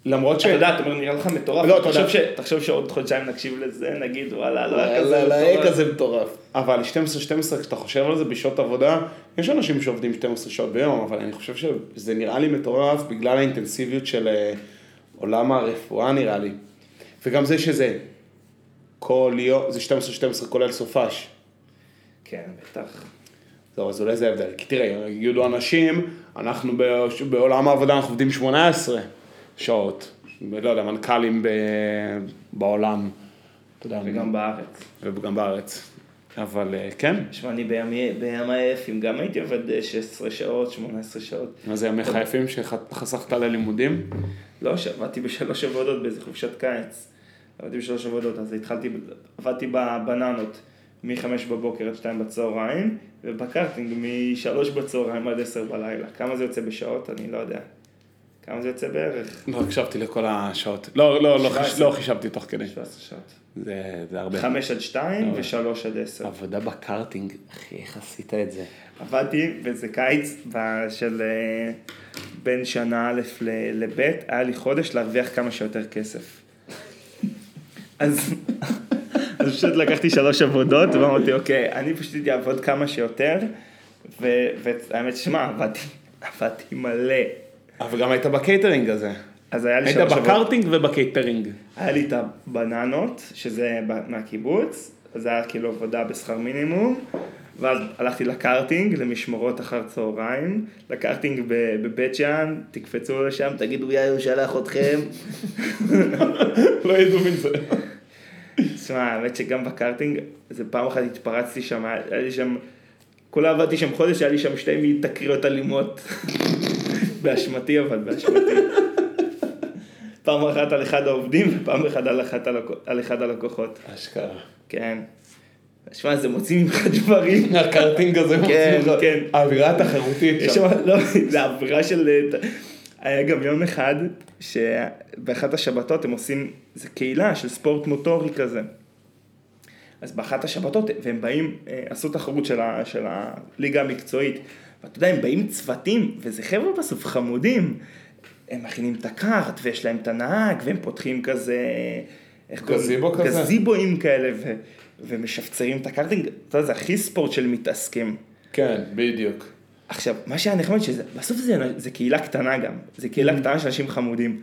Speaker 2: למרות ש...
Speaker 1: אתה יודע, אתה אומר, נראה לך מטורף.
Speaker 2: לא,
Speaker 1: אתה
Speaker 2: אתה
Speaker 1: חושב
Speaker 2: יודע.
Speaker 1: ש- תחשוב שעוד חודשיים נקשיב לזה, נגיד, וואלה, לא היה כזה
Speaker 2: לא
Speaker 1: מטורף.
Speaker 2: היה כזה מטורף. אבל 12-12, כשאתה חושב על זה בשעות עבודה, יש אנשים שעובדים 12 שעות ביום, אבל אני חושב שזה נראה לי מטורף בגלל האינטנסיביות של אה, עולם הרפואה נראה לי. וגם זה שזה כל יום, זה 12-12 כולל סופש.
Speaker 1: כן, בטח.
Speaker 2: טוב, אז אולי זה ההבדל. כי תראה, יגידו אנשים, אנחנו בש- בעולם העבודה אנחנו עובדים 18 שעות. לא יודע, מנכ"לים ב... בעולם. אתה יודע,
Speaker 1: וגם בארץ.
Speaker 2: וגם בארץ. אבל אה, כן,
Speaker 1: שמע, אני בימי- בימי היפים גם הייתי עובד אה, 16 שעות, 18 שעות.
Speaker 2: מה זה ימי חייפים שחסכת ללימודים?
Speaker 1: לא, שעבדתי בשלוש עבודות באיזה חופשת קיץ. עבדתי בשלוש עבודות, אז התחלתי, ב- עבדתי בבננות מחמש בבוקר עד שתיים בצהריים, ובקארטינג משלוש בצהריים עד עשר בלילה. כמה זה יוצא בשעות? אני לא יודע. כמה זה יוצא בערך?
Speaker 2: לא הקשבתי לכל השעות. לא, לא, לא,
Speaker 1: שבע
Speaker 2: חיש-
Speaker 1: עשרה.
Speaker 2: לא חישבתי תוך כדי.
Speaker 1: 17 שעות.
Speaker 2: זה, זה הרבה.
Speaker 1: חמש עד שתיים ושלוש עד עשר.
Speaker 2: עבודה בקארטינג, אחי, איך עשית את זה?
Speaker 1: עבדתי באיזה קיץ ב- של אה, בין שנה א' ל- לב', היה לי חודש להרוויח כמה שיותר כסף. אז, אז פשוט לקחתי שלוש עבודות ואמרתי, אוקיי, אני פשוט אעבוד כמה שיותר, ו- והאמת ששמע, עבדתי, עבדתי מלא.
Speaker 2: אבל גם היית בקייטרינג הזה.
Speaker 1: אז היה לי
Speaker 2: היית
Speaker 1: שלוש עבודות.
Speaker 2: בקארטינג ובקייטרינג.
Speaker 1: היה לי את הבננות, שזה ב- מהקיבוץ, אז זה היה כאילו עבודה בשכר מינימום, ואז הלכתי לקארטינג, למשמרות אחר צהריים, לקארטינג ב- בבית שאן, תקפצו לשם, תגידו יאיר שלח אתכם.
Speaker 2: לא ידעו מזה.
Speaker 1: תשמע, האמת שגם בקארטינג, איזה פעם אחת התפרצתי שם, היה היה לי שם, כולה עבדתי שם חודש, היה לי שם שתי תקריות אלימות. באשמתי אבל, באשמתי. פעם אחת על אחד העובדים, ופעם אחת על אחת הלקו- על אחד הלקוחות.
Speaker 2: אשכרה.
Speaker 1: כן. שמע, זה מוציא ממך דברים.
Speaker 2: הקארטינג הזה
Speaker 1: כן,
Speaker 2: מוציא לך-
Speaker 1: כן.
Speaker 2: האווירה התחרותית
Speaker 1: יש
Speaker 2: שם.
Speaker 1: שם, לא, זה עבירה של... אה, ת- היה גם יום אחד, שבאחת השבתות הם עושים, זה קהילה של ספורט מוטורי כזה. אז באחת השבתות, והם באים, אה, עשו תחרות של, ה, של הליגה המקצועית. ואתה יודע, הם באים צוותים, וזה חבר'ה בסוף חמודים. הם מכינים את הקארט, ויש להם את הנהג, והם פותחים כזה... איך קוראים?
Speaker 2: גזיבו כזה?
Speaker 1: גזיבואים כאלה, ו, ומשפצרים את הקארטינג. אתה יודע, זה הכי ספורט של מתעסקים.
Speaker 2: כן, בדיוק.
Speaker 1: עכשיו, מה שהיה נחמד שזה, בסוף זה, זה קהילה קטנה גם, זה
Speaker 2: Mm.
Speaker 1: קהילה קטנה של אנשים חמודים.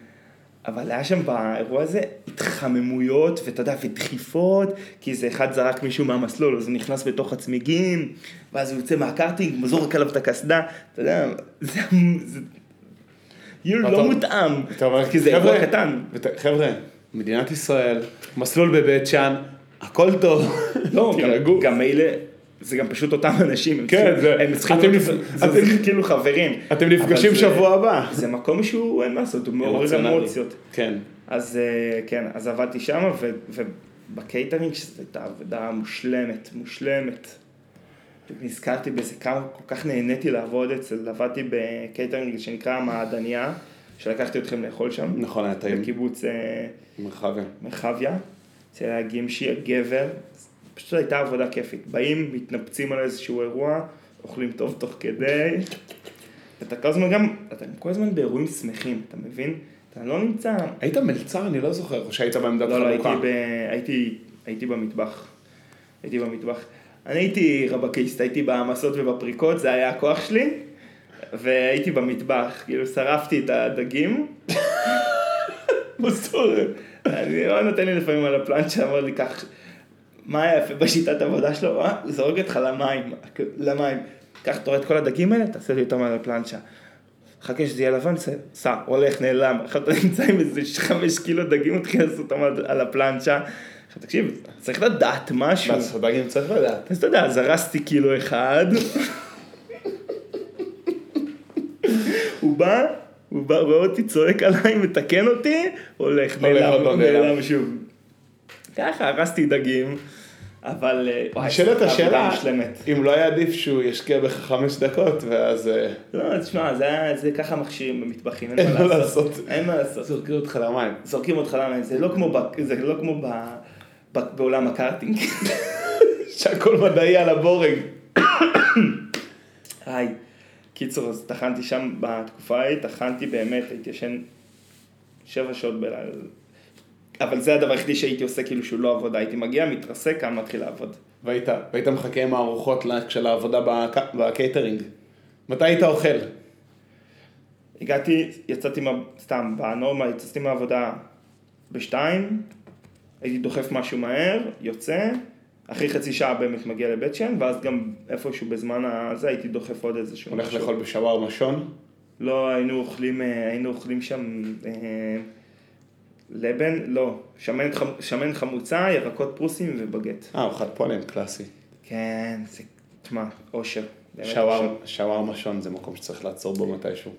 Speaker 1: אבל היה שם באירוע הזה התחממויות, ואתה יודע, ודחיפות, כי איזה אחד זרק מישהו מהמסלול, אז הוא נכנס בתוך הצמיגים, ואז הוא יוצא מהקארטינג, זורק עליו את הקסדה, אתה יודע, זה... זה... יול
Speaker 2: אתה-
Speaker 1: לא מותאם,
Speaker 2: אתה אומר,
Speaker 1: כי זה אירוע
Speaker 2: "חבר'ה,
Speaker 1: קטן.
Speaker 2: ות- חבר'ה, מדינת ישראל, מסלול בבית שאן, הכל טוב.
Speaker 1: לא, גם-
Speaker 2: תירגעו.
Speaker 1: גם מילא, זה גם פשוט אותם אנשים, הם
Speaker 2: כן,
Speaker 1: צריכים-
Speaker 2: זה-
Speaker 1: הם צריכים,
Speaker 2: אתם
Speaker 1: להיות-
Speaker 2: נפ-
Speaker 1: זה-
Speaker 2: אתם-
Speaker 1: זה כאילו חברים.
Speaker 2: אתם
Speaker 1: אבל
Speaker 2: נפגשים
Speaker 1: זה-
Speaker 2: שבוע הבא.
Speaker 1: זה מקום שהוא, אין מה לעשות, הוא מעורר
Speaker 2: אמוציונלי.
Speaker 1: אמוציות.
Speaker 2: כן.
Speaker 1: אז אה, כן, אז עבדתי שם, ו- ובקייטרינג שזו הייתה עבודה מושלמת, מושלמת. נזכרתי בזה כמה, כל כך נהניתי לעבוד אצל, עבדתי בקייטרינג שנקרא המעדניה, שלקחתי אתכם לאכול שם,
Speaker 2: נכון, היה טעים.
Speaker 1: בקיבוץ אה,
Speaker 2: מרחבים.
Speaker 1: מרחביה, אצל הגימשי הגבר, פשוט הייתה עבודה כיפית. באים, מתנפצים על איזשהו אירוע, אוכלים טוב תוך כדי, ואתה כל הזמן גם, אתה כל הזמן באירועים שמחים, אתה מבין? אתה לא נמצא...
Speaker 2: היית מלצר? אני לא זוכר. או שהיית בעמדת
Speaker 1: לא, לא, הייתי,
Speaker 2: חלוקה?
Speaker 1: ב... הייתי, הייתי במטבח. הייתי במטבח. אני הייתי רבקיסט, הייתי במסות ובפריקות, זה היה הכוח שלי, והייתי במטבח, כאילו שרפתי את הדגים,
Speaker 2: מה זאת אומרת?
Speaker 1: אני לא נותן לי לפעמים על הפלנצ'ה, אמר לי כך, מה היה יפה בשיטת עבודה שלו, אה? הוא זורק אותך למים, למים. קח, אתה רואה את כל הדגים האלה, תעשה לי אותם על הפלנצ'ה. חכה שזה יהיה לבן, סע, סע, הולך, נעלם. עכשיו אתה נמצא עם איזה חמש קילו דגים, הוא מתחיל לעשות אותם על- על הפלנצ'ה. עכשיו תקשיב, צריך לדעת משהו.
Speaker 2: מה, סודגים צריך לדעת.
Speaker 1: אז אתה יודע, אז הרסתי קילו אחד. הוא בא, הוא בא, רואה אותי, צועק עליי, מתקן אותי, הולך,
Speaker 2: הולך עוד
Speaker 1: נעלם,
Speaker 2: פעם,
Speaker 1: נעלם
Speaker 2: נעלם.
Speaker 1: שוב. ככה, הרסתי דגים, אבל... אה, וואי,
Speaker 2: נשאלת
Speaker 1: עבודה
Speaker 2: השאלה,
Speaker 1: מושלמת.
Speaker 2: אם לא היה עדיף שהוא ישקיע בך חמש דקות, ואז... אה,
Speaker 1: לא, תשמע, זה היה- זה ככה מכשירים במטבחים, אין
Speaker 2: אין
Speaker 1: מה
Speaker 2: מה
Speaker 1: לעשות.
Speaker 2: לעשות.
Speaker 1: אין מה לעשות.
Speaker 2: זורקים אותך למים.
Speaker 1: זורקים אותך למים, זה לא כמו ב- זה לא כמו ב- ב- בעולם הקארטינג.
Speaker 2: שהכל מדעי על הבורג.
Speaker 1: היי. קיצור, אז טחנתי שם בתקופה ההיא, טחנתי באמת, הייתי ישן שבע שעות בלילה. אבל זה הדבר היחידי שהייתי עושה כאילו שהוא לא עבודה, הייתי מגיע, מתרסק, כאן מתחיל לעבוד.
Speaker 2: והיית, והיית מחכה עם הארוחות ל- של העבודה בק- בקייטרינג. מתי היית אוכל?
Speaker 1: הגעתי, יצאתי מה... סתם, בנורמה, יצאתי מהעבודה בשתיים, הייתי דוחף משהו מהר, יוצא, אחרי חצי שעה באמת מגיע לבית שן, ואז גם איפשהו בזמן הזה הייתי דוחף עוד איזשהו
Speaker 2: הולך לאכול בשווארמה שון?
Speaker 1: לא, היינו אוכלים, אה, היינו אוכלים שם אה, לבן, לא, שמן, חמ- שמן חמוצה, ירקות פרוסים ובגט.
Speaker 2: אה, ארוחת פולן קלאסי.
Speaker 1: כן, זה, תשמע, אושר. באמת אושר.
Speaker 2: שוואר- שווארמה שון זה מקום שצריך לעצור בו מתישהו.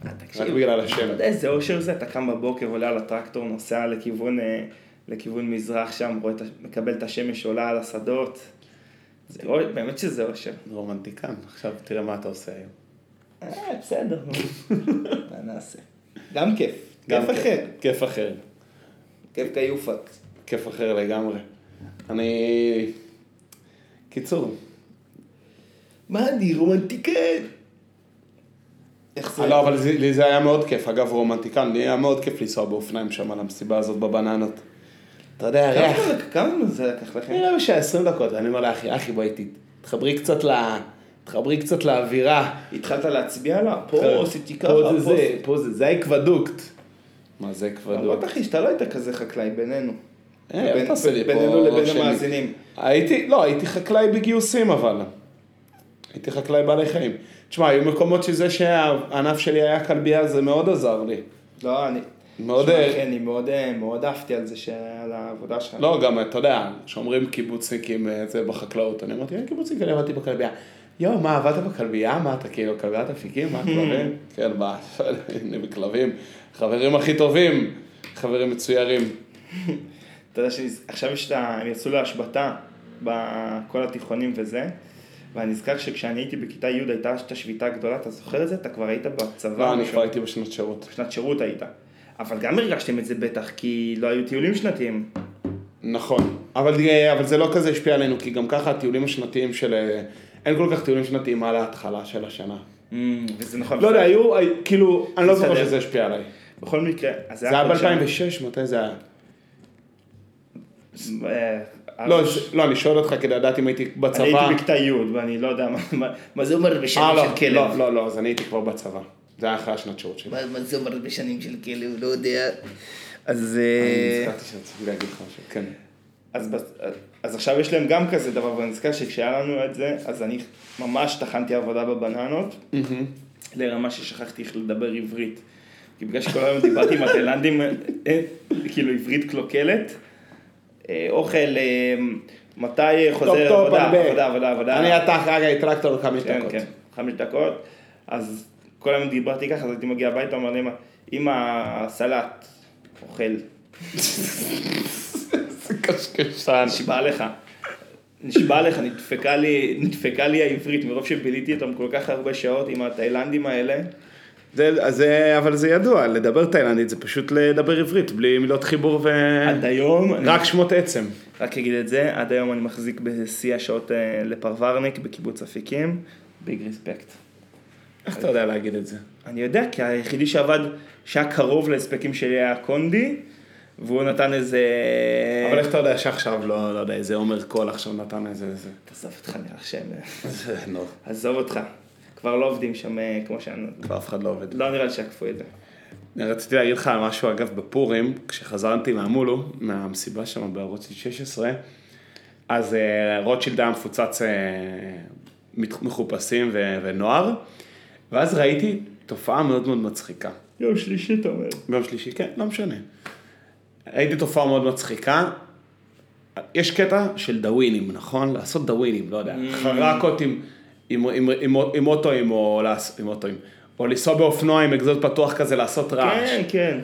Speaker 1: תשמע, תקשיב,
Speaker 2: רק בגלל
Speaker 1: אתה
Speaker 2: השם.
Speaker 1: לא יודע איזה אושר זה, אתה קם בבוקר, עולה על הטרקטור, נוסע לכיוון, אה, לכיוון מזרח שם, רואה, את ה- מקבל את השמש עולה על השדות. זה, אוי, באמת שזה אושר.
Speaker 2: רומנטיקן, עכשיו תראה מה אתה עושה היום.
Speaker 1: אה, בסדר, נו. מה נעשה? גם כיף.
Speaker 2: גם
Speaker 1: כיף אחר.
Speaker 2: כיף אחר.
Speaker 1: כיף כיופק.
Speaker 2: כיף אחר לגמרי. אני... קיצור,
Speaker 1: מה אני רומנטיקן? איך זה?
Speaker 2: אה, לא, אבל זה- לי זה היה מאוד כיף, אגב רומנטיקן, לי היה מאוד כיף לנסוע באופניים שם על המסיבה הזאת בבננות. אתה יודע,
Speaker 1: כמה
Speaker 2: ריח.
Speaker 1: זמן- כמה זמן זה לקח לכם?
Speaker 2: נראה לי שה-20 לא דקות, אני אומר לאחי, אחי בוא איתי, תחברי קצת ל... תחברי קצת לאווירה.
Speaker 1: התחלת להצביע לה? פה עשיתי ככה,
Speaker 2: פה אה, זה
Speaker 1: פה
Speaker 2: זה, פה זה, זה האקוודוקט. מה זה
Speaker 1: למרות
Speaker 2: אקוודוקט?
Speaker 1: אחי שאתה לא היית כזה חקלאי בינינו.
Speaker 2: אה, אל
Speaker 1: בין-
Speaker 2: תעשה לי פה
Speaker 1: בינינו לבין
Speaker 2: שני.
Speaker 1: המאזינים.
Speaker 2: הייתי, לא, הייתי חקלאי בגיוסים אבל. הייתי חקלאי בעלי חיים. תשמע, היו מקומות שזה שהענף שלי היה כלבייה, זה מאוד עזר לי.
Speaker 1: לא, אני...
Speaker 2: מאוד,
Speaker 1: שמע,
Speaker 2: אה,
Speaker 1: אחי, אני מאוד, אה, מאוד אהבתי על זה שעל העבודה שלך.
Speaker 2: לא, גם, אתה יודע, שאומרים קיבוצניקים אה, זה בחקלאות, אני אמרתי, אין קיבוצניק, אני עבדתי בכלבייה. יואו, מה, עבדת בכלבייה? מה, אתה כאילו כלביית אפיקים? מה, כלבים? כן, מה, אני בכלבים. חברים הכי טובים, חברים מצוירים.
Speaker 1: אתה יודע שעכשיו יש את ה... הם יצאו להשבתה בכל התיכונים וזה. ואני נזכר שכשאני הייתי בכיתה י' הייתה את השביתה הגדולה, אתה זוכר את זה? אתה כבר היית בצבא.
Speaker 2: לא, אני
Speaker 1: משהו.
Speaker 2: כבר הייתי בשנות שירות.
Speaker 1: בשנת שירות היית. אבל גם הרגשתם את זה בטח, כי לא היו טיולים שנתיים.
Speaker 2: נכון, אבל, אה, אבל זה לא כזה השפיע עלינו, כי גם ככה הטיולים השנתיים של... אה, אין כל כך טיולים שנתיים על ההתחלה של השנה.
Speaker 1: וזה נכון.
Speaker 2: לא יודע, היו, אה, כאילו, אני לא זוכר
Speaker 1: בסדר.
Speaker 2: שזה השפיע עליי.
Speaker 1: בכל מקרה, אז
Speaker 2: זה היה
Speaker 1: חודשיים.
Speaker 2: ב-2006, מתי זה היה?
Speaker 1: אה,
Speaker 2: לא,
Speaker 1: אז-
Speaker 2: זה- לא, אני שואל אותך כדי לדעת אם הייתי בצבא.
Speaker 1: אני הייתי בכיתה י' ואני לא יודע מה- מה- מה זה אומר בשנים
Speaker 2: אה, לא,
Speaker 1: של כלב.
Speaker 2: לא, לא, לא, אז אני הייתי כבר בצבא. זה היה אחרי השנת שירות שלי.
Speaker 1: מה מה זה אומר בשנים של כלב, לא יודע. אז...
Speaker 2: אני
Speaker 1: אה,
Speaker 2: נזכרתי שרציתי להגיד לך משהו, כן.
Speaker 1: אז, בס- אז עכשיו יש להם גם כזה דבר, ואני נזכר שכשהיה לנו את זה, אז אני ממש טחנתי עבודה בבננות, לרמה ששכחתי איך לדבר עברית. כי בגלל שכל היום דיברתי עם התאילנדים, אה, אה, כאילו עברית קלוקלת, אה, אוכל, אה, מתי חוזר
Speaker 2: טופ, טופ,
Speaker 1: עבודה,
Speaker 2: הרבה.
Speaker 1: עבודה, עבודה, עבודה.
Speaker 2: אני אתה אחרי הטרקטור כמה
Speaker 1: כן,
Speaker 2: דקות.
Speaker 1: כן, חמש דקות. אז כל היום דיברתי ככה, אז הייתי מגיע הביתה, אומר לאמא, אמא, סלט, אוכל,
Speaker 2: זה קשקשן.
Speaker 1: נשבע לך. נשבע לך, נדפקה לי, נדפקה לי העברית מרוב שביליתי אותם כל כך הרבה שעות עם התאילנדים האלה.
Speaker 2: כן. זה- אז זה- אבל זה ידוע, לדבר תאילנדית זה פשוט לדבר עברית, בלי מילות חיבור ו...
Speaker 1: עד היום,
Speaker 2: רק שמות עצם.
Speaker 1: רק אגיד את זה, עד היום אני מחזיק בשיא השעות אה, לפרברניק בקיבוץ אפיקים, ביג ריספקט.
Speaker 2: איך אתה יודע להגיד את זה?
Speaker 1: אני יודע, כי היחידי שעבד, שהיה קרוב להספקים שלי היה קונדי, והוא נתן איזה...
Speaker 2: אבל איך אתה יודע שעכשיו, לא לא יודע, איזה עומר קול עכשיו נתן איזה... זה-
Speaker 1: תעזוב אותך נראה שהם...
Speaker 2: זה נו,
Speaker 1: עזוב אותך. כבר לא עובדים שם אה, כמו שאני...
Speaker 2: כבר אף אחד לא עובד.
Speaker 1: לא נראה לי שעקפו את זה.
Speaker 2: רציתי להגיד לך על משהו, אגב, בפורים, כשחזרתי מהמולו, מהמסיבה שם בערוץ 16, אז אה, רוטשילד היה מפוצץ אה, מת- מחופשים ו- ונוער, ואז ראיתי תופעה מאוד מאוד מצחיקה.
Speaker 1: יום שלישי אתה אומר.
Speaker 2: ביום לא, שלישי, כן, לא משנה. ראיתי תופעה מאוד מצחיקה. יש קטע של דאווינים, נכון? לעשות דאווינים, לא יודע, חרקות עם, עם, עם, עם, עם אוטואים או, לעס- עם אוטואים. או לנסוע באופנוע עם אגזוז פתוח כזה, לעשות רעש.
Speaker 1: כן, כן.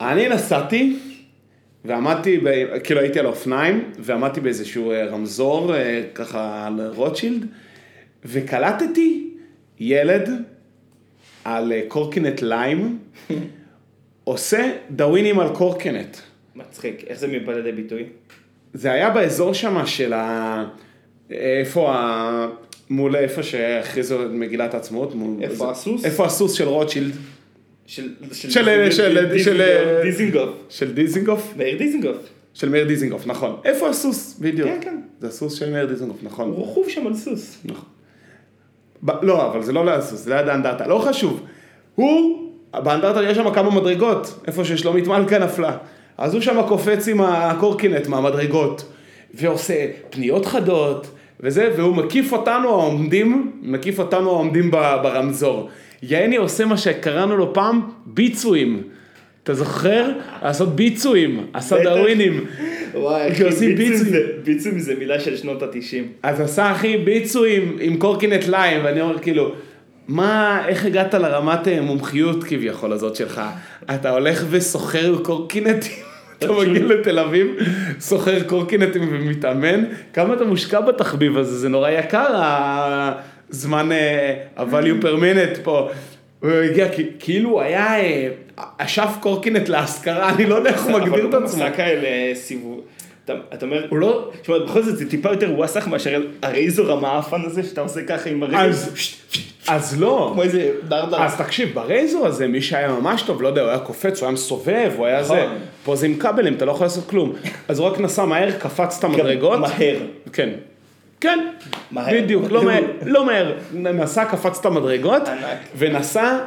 Speaker 2: אני נסעתי, ועמדתי, ב... כאילו הייתי על האופניים, ועמדתי באיזשהו אה, רמזור, אה, ככה על רוטשילד, וקלטתי ילד על אה, קורקינט ליים, עושה דאווינים על קורקינט.
Speaker 1: מצחיק. איך זה מבא לידי ביטוי?
Speaker 2: זה היה באזור שם של ה... איפה ה... מול איפה שהכריזו את מגילת העצמאות, מול...
Speaker 1: איפה הסוס?
Speaker 2: איפה הסוס של רוטשילד?
Speaker 1: של...
Speaker 2: של אלה, של-
Speaker 1: דיזינגוף.
Speaker 2: של-
Speaker 1: דיזינגוף.
Speaker 2: של דיזינגוף?
Speaker 1: מאיר דיזינגוף.
Speaker 2: של מאיר דיזינגוף, נכון. איפה הסוס? בדיוק.
Speaker 1: כן, כן.
Speaker 2: זה הסוס של מאיר דיזינגוף,
Speaker 1: הוא
Speaker 2: נכון.
Speaker 1: רכוב שם על סוס.
Speaker 2: נכון. ב- לא, אבל זה לא ליד הסוס, זה ליד האנדרטה. לא חשוב. הוא, באנדרטה יש שם כמה מדרגות, איפה ששלומית מלכה נפלה. אז הוא שם קופץ עם הקורקינט מהמדרגות, ועושה פניות חדות, וזה, והוא מקיף אותנו העומדים, מקיף אותנו העומדים ב- ברמזור. יעני עושה מה שקראנו לו פעם, ביצועים. אתה זוכר? לעשות ביצועים, הסדרווינים.
Speaker 1: וואי,
Speaker 2: כי אוקיי, עושים ביצים.
Speaker 1: ביצים זה מילה של שנות התשעים.
Speaker 2: אז עשה אחי ביצועים עם קורקינט ליים, ואני אומר כאילו, מה, איך הגעת לרמת אה, מומחיות כביכול הזאת שלך? אתה הולך וסוחר קורקינטים, אתה מגיע לתל אביב, סוחר קורקינטים ומתאמן, כמה אתה מושקע בתחביב הזה, זה נורא יקר, הזמן, אה, ה-value per minute פה. הוא הגיע כי- כאילו הוא היה אה, אשף קורקינט להשכרה, אני לא יודע איך הוא מגדיר את עצמו.
Speaker 1: הוא עשה כאלה אה, סיבוב. אתה אתה אומר,
Speaker 2: הוא לא,
Speaker 1: תשמע, בכל זאת זה טיפה יותר ווסח מאשר הרייזור המאפן הזה שאתה עושה ככה עם
Speaker 2: אז-
Speaker 1: הרייזור.
Speaker 2: אז לא.
Speaker 1: כמו איזה דרדר.
Speaker 2: אז תקשיב, ברייזור הזה, מי שהיה ממש טוב, לא יודע, הוא היה קופץ, הוא היה מסובב, הוא היה
Speaker 1: נכון.
Speaker 2: זה. פה זה עם כבלים, אתה לא יכול לעשות כלום. אז הוא רק נסע מהר, קפץ את המדרגות.
Speaker 1: מהר.
Speaker 2: כן. כן,
Speaker 1: מהר.
Speaker 2: בדיוק, לא מהר, לא מהר. נסע, קפץ את המדרגות,
Speaker 1: ענק.
Speaker 2: ונסע,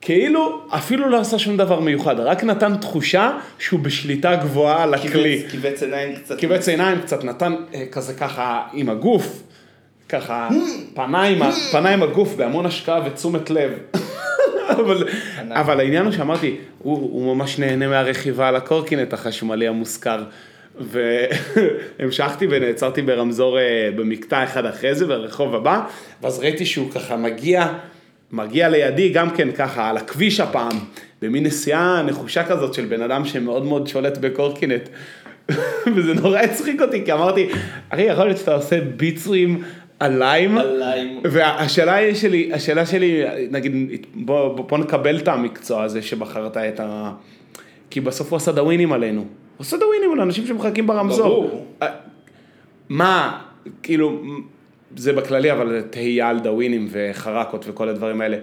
Speaker 2: כאילו, אפילו לא עשה שום דבר מיוחד, רק נתן תחושה שהוא בשליטה גבוהה על הכלי.
Speaker 1: קיבץ- קיבץ עיניים קצת.
Speaker 2: קיבץ עיניים קצת, נתן אה, כזה ככה עם הגוף, ככה פניים, פניים הגוף בהמון השקעה ותשומת לב. אבל,
Speaker 1: ענק.
Speaker 2: אבל העניין הוא שאמרתי, הוא, הוא ממש נהנה מהרכיבה על הקורקינט החשמלי המושכר. והמשכתי ונעצרתי ברמזור אה, במקטע אחד אחרי זה, ברחוב הבא, ואז ראיתי שהוא ככה מגיע, מגיע לידי גם כן ככה על הכביש הפעם, במין נסיעה נחושה כזאת של בן אדם שמאוד מאוד שולט בקורקינט. וזה נורא הצחיק אותי, כי אמרתי, אחי, יכול להיות שאתה עושה ביצועים עליים,
Speaker 1: עליים.
Speaker 2: והשאלה היא שלי, השאלה שלי, נגיד, בוא, בוא נקבל את המקצוע הזה שבחרת את ה... כי בסוף הוא עשה דאווינים עלינו. הוא עשה דאווינים על אנשים שמחכים ברמזור.
Speaker 1: לא ברור.
Speaker 2: אה, מה, כאילו, זה בכללי, אבל תהייה על דאווינים וחרקות וכל הדברים האלה.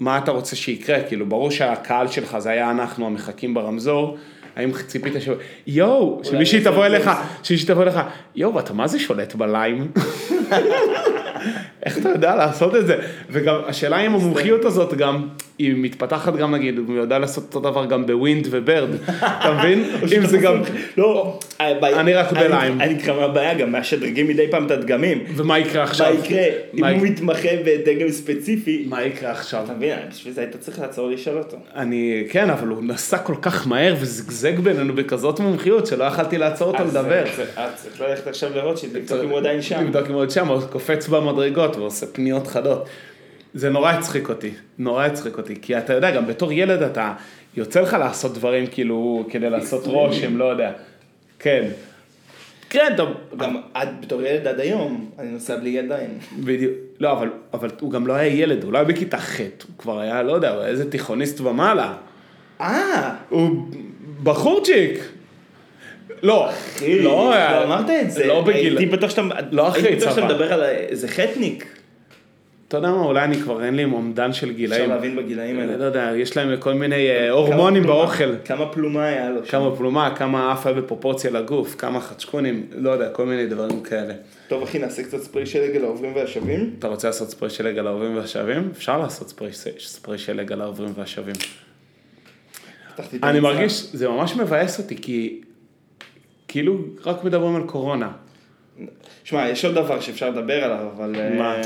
Speaker 2: מה אתה רוצה שיקרה? כאילו, ברור שהקהל שלך זה היה אנחנו המחכים ברמזור. האם ציפית ש... יואו, שמישהי
Speaker 1: זה
Speaker 2: תבוא
Speaker 1: זה
Speaker 2: אליך,
Speaker 1: זה.
Speaker 2: שמישהי תבוא אליך, יואו, אתה מה זה שולט בליים? איך אתה יודע לעשות את זה? וגם השאלה אם המומחיות הזאת גם, היא מתפתחת גם נגיד, הוא יודע לעשות אותו דבר גם בווינד וברד, אתה מבין? אם זה גם,
Speaker 1: לא, הבעיה-
Speaker 2: אני רק בליים.
Speaker 1: אני אני כבר הבעיה, גם מהשדרגים מדי פעם את הדגמים.
Speaker 2: ומה יקרה
Speaker 1: מה
Speaker 2: עכשיו?
Speaker 1: יקרה אם
Speaker 2: מה
Speaker 1: הוא
Speaker 2: יק-
Speaker 1: מתמחה בדגם ספציפי?
Speaker 2: מה יקרה עכשיו?
Speaker 1: אתה מבין, בשביל זה היית צריך לעצור לשאול אותו.
Speaker 2: אני, כן, אבל הוא נסע כל כך מהר וזגזג בינינו בכזאת מומחיות שלא יכלתי לעצור אותו
Speaker 1: אז,
Speaker 2: לדבר.
Speaker 1: אה, זה- אה, צריך ללכת עכשיו לרוטשילד, לבדוק אם הוא עדיין שם.
Speaker 2: לבדוק אם הוא עוד שם, הוא קופץ במדרגות ועושה פניות חדות. זה נורא הצחיק אותי, נורא הצחיק אותי, כי אתה יודע, גם בתור ילד אתה, יוצא לך לעשות דברים כאילו, כדי לעשות רושם, לא יודע. כן. כן, טוב,
Speaker 1: גם עד בתור ילד עד היום, אני נוסע בלי ידיים.
Speaker 2: בדיוק. לא, אבל, אבל הוא גם לא היה ילד, הוא לא היה בכיתה ח', הוא כבר היה, לא יודע, איזה תיכוניסט ומעלה.
Speaker 1: אה,
Speaker 2: הוא בחורצ'יק. לא,
Speaker 1: אחי,
Speaker 2: לא,
Speaker 1: לא אמרת את זה.
Speaker 2: לא בגיל...
Speaker 1: הייתי בטוח שאתה
Speaker 2: לא אחרי
Speaker 1: הייתי בטוח שאתה
Speaker 2: צבא.
Speaker 1: מדבר על איזה חטניק.
Speaker 2: אתה יודע מה, אולי אני כבר אין לי אומדן של
Speaker 1: אפשר
Speaker 2: גילאים.
Speaker 1: להבין בגילאים
Speaker 2: אני
Speaker 1: האלה.
Speaker 2: לא יודע, יש להם כל מיני אה, הורמונים
Speaker 1: כמה פלומה-
Speaker 2: באוכל.
Speaker 1: כמה פלומה היה לו. שם.
Speaker 2: כמה פלומה, כמה עף היה בפרופורציה לגוף, כמה חצ'קונים, לא יודע, כל מיני דברים כאלה.
Speaker 1: טוב אחי, נעשה קצת ספרי שלג על העוברים והשבים.
Speaker 2: אתה רוצה לעשות ספרי שלג על העורבים והשבים? אפשר לעשות ספרי ש- ספרי שלג על העורבים והשבים.
Speaker 1: פתחתי את
Speaker 2: אני
Speaker 1: המצרה.
Speaker 2: מרגיש, זה ממש מבאס אותי, כי כאילו רק מדברים על קורונה.
Speaker 1: שמע, יש עוד דבר שאפשר לדבר עליו, אבל... אה,
Speaker 2: מה?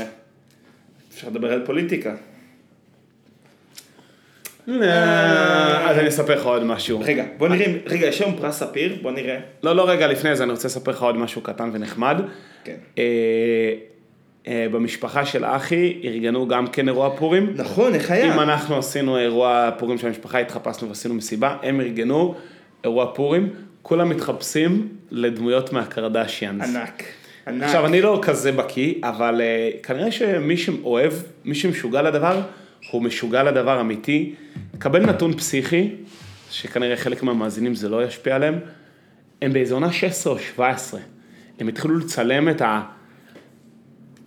Speaker 1: אפשר לדבר על פוליטיקה.
Speaker 2: אה, אז אני אספר לך עוד משהו.
Speaker 1: רגע, בוא נראה, אם- רגע, יש היום פרס ספיר, בוא נראה.
Speaker 2: לא, לא, רגע, לפני זה אני רוצה לספר לך עוד משהו קטן ונחמד.
Speaker 1: כן.
Speaker 2: אה, אה, במשפחה של אחי ארגנו גם כן אירוע פורים.
Speaker 1: נכון, איך היה?
Speaker 2: אם אנחנו עשינו אירוע פורים של המשפחה, התחפשנו ועשינו מסיבה, הם ארגנו אירוע פורים, כולם מתחפשים לדמויות מהקרדשיאנס.
Speaker 1: ענק. ענק.
Speaker 2: עכשיו, אני לא כזה בקיא, אבל אה, כנראה שמי שאוהב, מי שמשוגע לדבר, הוא משוגע לדבר אמיתי. קבל נתון פסיכי, שכנראה חלק מהמאזינים זה לא ישפיע עליהם, הם באיזה עונה 16 או 17. הם התחילו לצלם את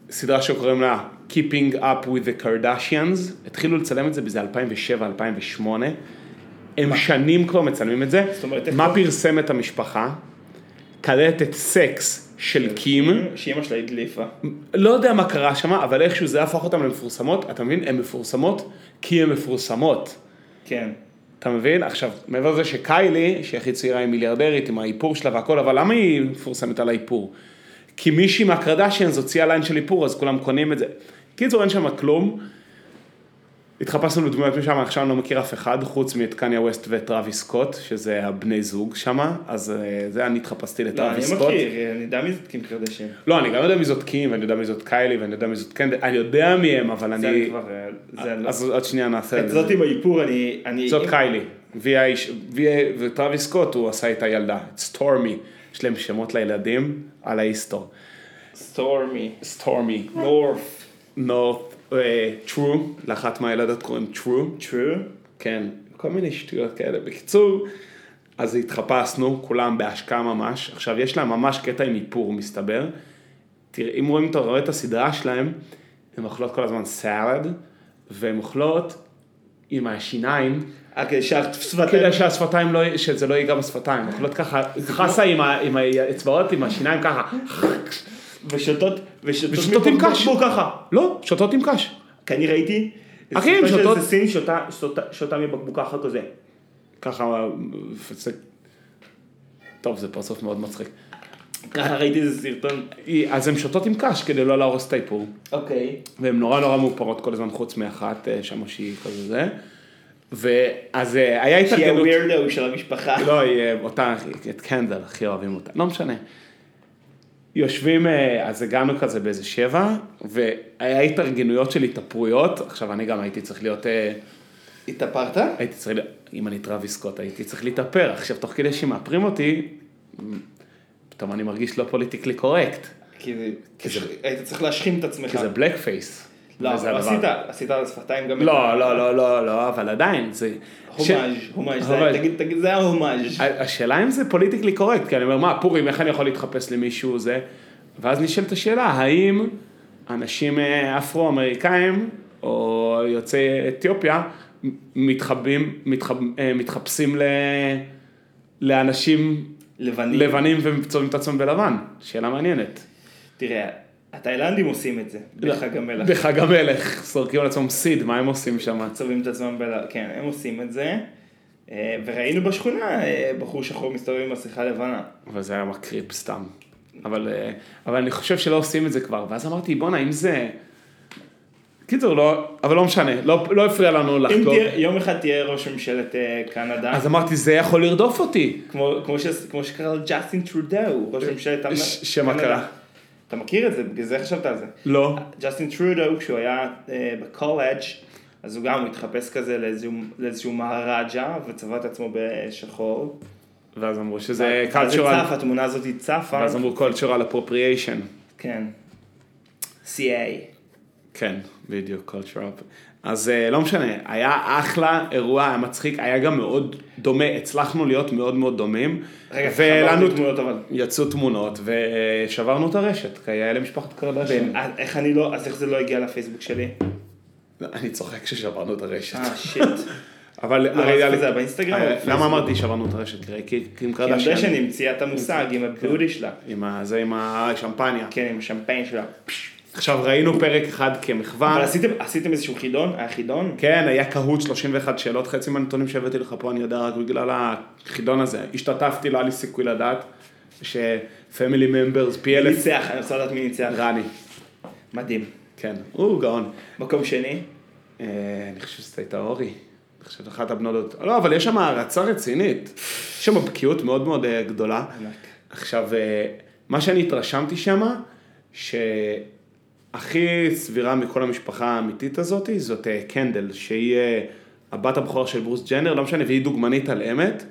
Speaker 2: הסדרה שקוראים לה Keeping Up with the Kardashians, התחילו לצלם את זה באיזה 2007-2008. הם שנים כבר מצלמים את זה.
Speaker 1: זאת אומרת, איך
Speaker 2: מה פרסם את המשפחה? קלטת סקס
Speaker 1: כן.
Speaker 2: של קים,
Speaker 1: שאימא שלה הדליפה.
Speaker 2: לא יודע מה קרה שם, אבל איכשהו זה הפך אותם למפורסמות, אתה מבין? הן מפורסמות כי הן מפורסמות.
Speaker 1: כן.
Speaker 2: אתה מבין? עכשיו, מעבר לזה שקיילי, שהיא הכי צעירה, היא מיליארדרית עם האיפור שלה והכל, אבל למה היא מפורסמת על האיפור? כי מישהי מהקרדשיאנס הוציאה ליין של איפור, אז כולם קונים את זה. קיצור, אין שם כלום. התחפשנו לדמויות משם, עכשיו אני לא מכיר אף אחד, חוץ מאת קניה ווסט וטראביס סקוט, שזה הבני זוג שמה, אז אה, זה אני התחפשתי
Speaker 1: לא, אני
Speaker 2: לטראביס סקוט.
Speaker 1: מכיר, אני יודע מי זאת קים קרדשן.
Speaker 2: לא, אני גם יודע מי זאת קים, ואני יודע מי זאת קיילי, ואני יודע מי זאת קנדל, אני יודע מי הם, אבל
Speaker 1: זה אני
Speaker 2: אני...
Speaker 1: כבר, אה, זה אני לא...
Speaker 2: אז עוד שנייה נעשה את
Speaker 1: את
Speaker 2: זה.
Speaker 1: זאת עם האיפור, אני... אני-
Speaker 2: זאת
Speaker 1: אם-
Speaker 2: קיילי. והיא האיש- והיא- וטרוויס סקוט, הוא עשה איתה ילדה. סטורמי. יש להם שמות לילדים על ההיסטור.
Speaker 1: סטורמי.
Speaker 2: סטורמי.
Speaker 1: נורף.
Speaker 2: נורט. טרו. eh, לאחת מהילדות קוראים טרו.
Speaker 1: טרו?
Speaker 2: כן, כל מיני שטויות כאלה. בקיצור, אז התחפשנו, כולם בהשקעה ממש. עכשיו, יש להם ממש קטע עם איפור, מסתבר. תראה, אם רואים, אתה רואה את הסדרה שלהם, הן אוכלות כל הזמן סלד, והן אוכלות עם השיניים,
Speaker 1: אה, כדי שהשפתיים...
Speaker 2: כדי שהשפתיים לא, שזה לא ייגע בשפתיים, אוכלות ככה, חסה עם, ה, עם האצבעות, עם השיניים ככה,
Speaker 1: ושותות... ושותות
Speaker 2: ושותות עם
Speaker 1: מבקבוק
Speaker 2: קש.
Speaker 1: ככה.
Speaker 2: לא, שותות עם קש.
Speaker 1: כי אני ראיתי...
Speaker 2: אחי,
Speaker 1: סיפור
Speaker 2: הם
Speaker 1: של
Speaker 2: שותות-
Speaker 1: איזה סין שותה- שותה- שותה מבקבוק ככה כזה.
Speaker 2: ככה, זה... טוב, זה פרצוף מאוד מצחיק. אה.
Speaker 1: ככה ראיתי איזה סרטון.
Speaker 2: אז הן שותות עם קש כדי לא להרוס את האיפור.
Speaker 1: אוקיי.
Speaker 2: והן נורא נורא מאופרות כל הזמן, חוץ מאחת אה, שם שהיא כזה זה. ואז אה, היה
Speaker 1: שהיא
Speaker 2: התארגנות.
Speaker 1: הווירדו של המשפחה.
Speaker 2: לא, היא אה, אותה, את קנדל, הכי אוהבים אותה, לא משנה. יושבים, אה, אז הגענו כזה באיזה שבע, והיה התארגנויות של התאפרויות, עכשיו אני גם הייתי צריך להיות, אה,
Speaker 1: התאפרת?
Speaker 2: הייתי צריך, להיות- אם אני טרוויס סקוט, הייתי צריך להתאפר, עכשיו תוך כדי שמאפרים אותי, פתאום אני מרגיש לא פוליטיקלי קורקט,
Speaker 1: כי זה...
Speaker 2: כי זה-
Speaker 1: היית צריך להשכים את עצמך.
Speaker 2: כי זה בלק פייס.
Speaker 1: כן. לא,
Speaker 2: וזה
Speaker 1: אבל
Speaker 2: הדבר.
Speaker 1: עשית, עשית על השפתיים גם...
Speaker 2: לא, לא, לא, לא, לא, אבל עדיין, זה...
Speaker 1: הומאז', הומאז', זה-
Speaker 2: הומאז'. אה,
Speaker 1: תגיד, תגיד, זה היה הומאז'.
Speaker 2: ה- השאלה אם זה פוליטיקלי קורקט, כי אני אומר, מה, פורים, איך אני יכול להתחפש למישהו זה? ואז נשאלת השאלה, האם אנשים אה, אפרו-אמריקאים או יוצאי אתיופיה מ- מתחבאים, מתחב, אה, מתחפשים ל... לאנשים
Speaker 1: לבנים.
Speaker 2: לבנים ומצובעים את עצמם בלבן? שאלה מעניינת.
Speaker 1: תראה, התאילנדים עושים את זה,
Speaker 2: לא.
Speaker 1: בחג המלח.
Speaker 2: בחג המלך, סורקים על עצמם סיד, מה הם עושים שם?
Speaker 1: צובעים את עצמם בל... כן, הם עושים את זה. אה, וראינו בשכונה אה, בחור שחור מסתובב עם מסכה לבנה.
Speaker 2: אבל זה היה מקריפ סתם. אבל, אה, אבל אני חושב שלא עושים את זה כבר, ואז אמרתי, בואנה, אם זה... קיצור, לא, אבל לא משנה, לא, לא הפריע לנו
Speaker 1: אם
Speaker 2: לחגוג.
Speaker 1: תהיה, יום אחד תהיה ראש ממשלת אה, קנדה,
Speaker 2: אז אמרתי, זה יכול לרדוף אותי.
Speaker 1: כמו, כמו, ש, כמו שקרה לג'סטין טרודו, ראש ממשלת המ-
Speaker 2: אה, ש- שמה
Speaker 1: קנדה.
Speaker 2: קרה?
Speaker 1: אתה מכיר את זה, בגלל זה חשבת על זה.
Speaker 2: לא.
Speaker 1: ג'סטין טרודו, כשהוא היה אה, בקולג', אז הוא גם התחפש כזה לאיזשהו, לאיזשהו מהראג'ה, וצבע את עצמו בשחור.
Speaker 2: ואז אמרו שזה
Speaker 1: ואז היא
Speaker 2: cultural,
Speaker 1: צפה, התמונה הזאת היא צפה.
Speaker 2: ואז אמרו cultural appropriation.
Speaker 1: כן. CA.
Speaker 2: כן, בדיוק, cultural. אז אה, לא משנה, היה אחלה אירוע, היה מצחיק, היה גם מאוד דומה, הצלחנו להיות מאוד מאוד דומים.
Speaker 1: רגע,
Speaker 2: והעלנו-
Speaker 1: חברנו תמונות אבל.
Speaker 2: יצאו תמונות ושברנו את הרשת, כי היה למשפחת קרדשן.
Speaker 1: אה, איך אני לא, אז איך זה לא הגיע לפייסבוק שלי?
Speaker 2: לא, אני צוחק ששברנו את הרשת.
Speaker 1: אה, שיט. לא,
Speaker 2: אבל הרי...
Speaker 1: אז זה היה באינסטגרם או
Speaker 2: הרי-
Speaker 1: בפייסבוק?
Speaker 2: למה אמרתי שברנו את הרשת? תראה, כי קים
Speaker 1: כי אני יודע
Speaker 2: קרדשן.
Speaker 1: שאני המציאה את המושג עם הבודי שלה.
Speaker 2: עם ה- זה עם השמפניה.
Speaker 1: כן, עם השמפיין שלה.
Speaker 2: אה. עכשיו ראינו פרק אחד
Speaker 1: אבל
Speaker 2: כמחווה.
Speaker 1: עשיתם- עשיתם איזשהו חידון? היה חידון?
Speaker 2: כן, היה קהוט 31 שאלות, חצי מהנתונים שהבאתי לך פה אני יודע רק בגלל החידון הזה. השתתפתי, לא היה לי סיכוי לדעת שפמילי ממברס פי
Speaker 1: מי
Speaker 2: אלף.
Speaker 1: ניצח? אני רוצה לדעת מי ניצח.
Speaker 2: רני,
Speaker 1: מדהים.
Speaker 2: כן, הוא גאון.
Speaker 1: מקום שני?
Speaker 2: אה, אני חושב שזאת הייתה אורי. אני חושב אחת הבנות... לא, אבל יש שם הערצה רצינית. יש שם בקיאות מאוד מאוד אה, גדולה.
Speaker 1: ענק.
Speaker 2: עכשיו, אה, מה שאני התרשמתי שם, שהכי סבירה מכל המשפחה האמיתית הזאת, זאת אה, קנדל, שהיא אה, הבת הבכורה של ברוס ג'נר, לא משנה, והיא דוגמנית על אמת.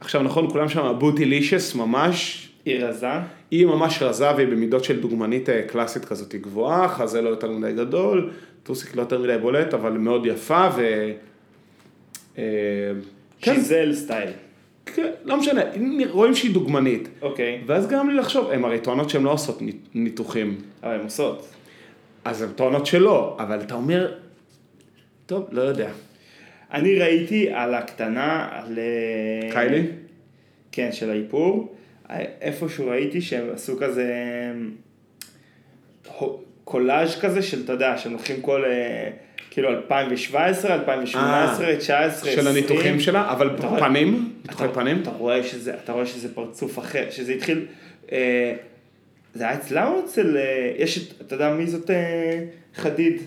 Speaker 2: עכשיו, נכון, כולם שם בוטילישס ממש,
Speaker 1: היא רזה?
Speaker 2: היא ממש רזה והיא במידות של דוגמנית אה, קלאסית כזאת היא גבוהה, חזה לא יותר מדי גדול, טוסיק לא יותר מדי בולט, אבל מאוד יפה ו... אה, כן,
Speaker 1: שיזל סטייל.
Speaker 2: כן, לא משנה, הנה, רואים שהיא דוגמנית.
Speaker 1: אוקיי.
Speaker 2: ואז גרם לי לחשוב, הן הרי טוענות שהן לא עושות נית- ניתוחים,
Speaker 1: אבל הן עושות.
Speaker 2: אז הן טוענות שלא, אבל אתה אומר, טוב, לא יודע.
Speaker 1: אני ראיתי על הקטנה, על... אה,
Speaker 2: קיילי?
Speaker 1: כן, של האיפור. איפשהו ראיתי שהם עשו כזה אה, הו- קולאז' כזה של, אתה יודע, שהם לוקחים כל... אה, כאילו 2017, 2018, 2019,
Speaker 2: אה, של הניתוחים שלה, אבל
Speaker 1: אתה רואה-
Speaker 2: פנים, ניתוחי
Speaker 1: אתה-
Speaker 2: פנים.
Speaker 1: אתה רואה שזה, אתה רואה שזה פרצוף אחר, שזה התחיל, אה, זה היה אצלה או אצל, אה, יש את, אתה יודע מי זאת אה, חדיד,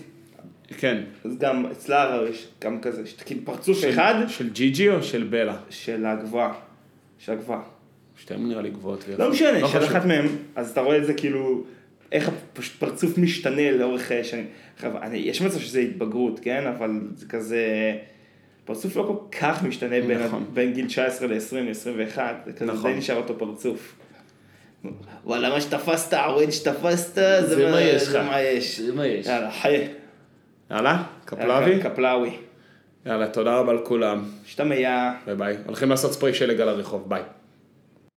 Speaker 2: כן.
Speaker 1: אז גם אצלה הרי יש גם כזה, יש כאילו פרצוף
Speaker 2: של-
Speaker 1: אחד
Speaker 2: של ג'יג'י או של בלה?
Speaker 1: של הגבוהה, של הגבוהה,
Speaker 2: שתיהן נראה לי גבוהות. ויפות.
Speaker 1: לא משנה, של
Speaker 2: חשוב.
Speaker 1: אחת מהם, אז אתה רואה את זה כאילו, איך הפרצוף משתנה לאורך אה, שנים, עכשיו, אני, יש מצב שזה התבגרות, כן, אבל זה כזה... פרצוף לא כל כך משתנה בין,
Speaker 2: נכון.
Speaker 1: בין גיל 19 ל-20 ל-21, זה כזה
Speaker 2: נכון.
Speaker 1: די נשאר אותו פרצוף. וואלה, מה שתפסת, הווד שתפסת,
Speaker 2: זה מה יש
Speaker 1: זה
Speaker 2: לך.
Speaker 1: מה יש.
Speaker 2: זה מה יש.
Speaker 1: יאללה, חיה.
Speaker 2: יאללה, קפלבי.
Speaker 1: קפלאווי.
Speaker 2: יאללה, תודה רבה לכולם,
Speaker 1: שתמיה.
Speaker 2: ביי ביי. הולכים לעשות ספרי שלג על הרחוב, ביי.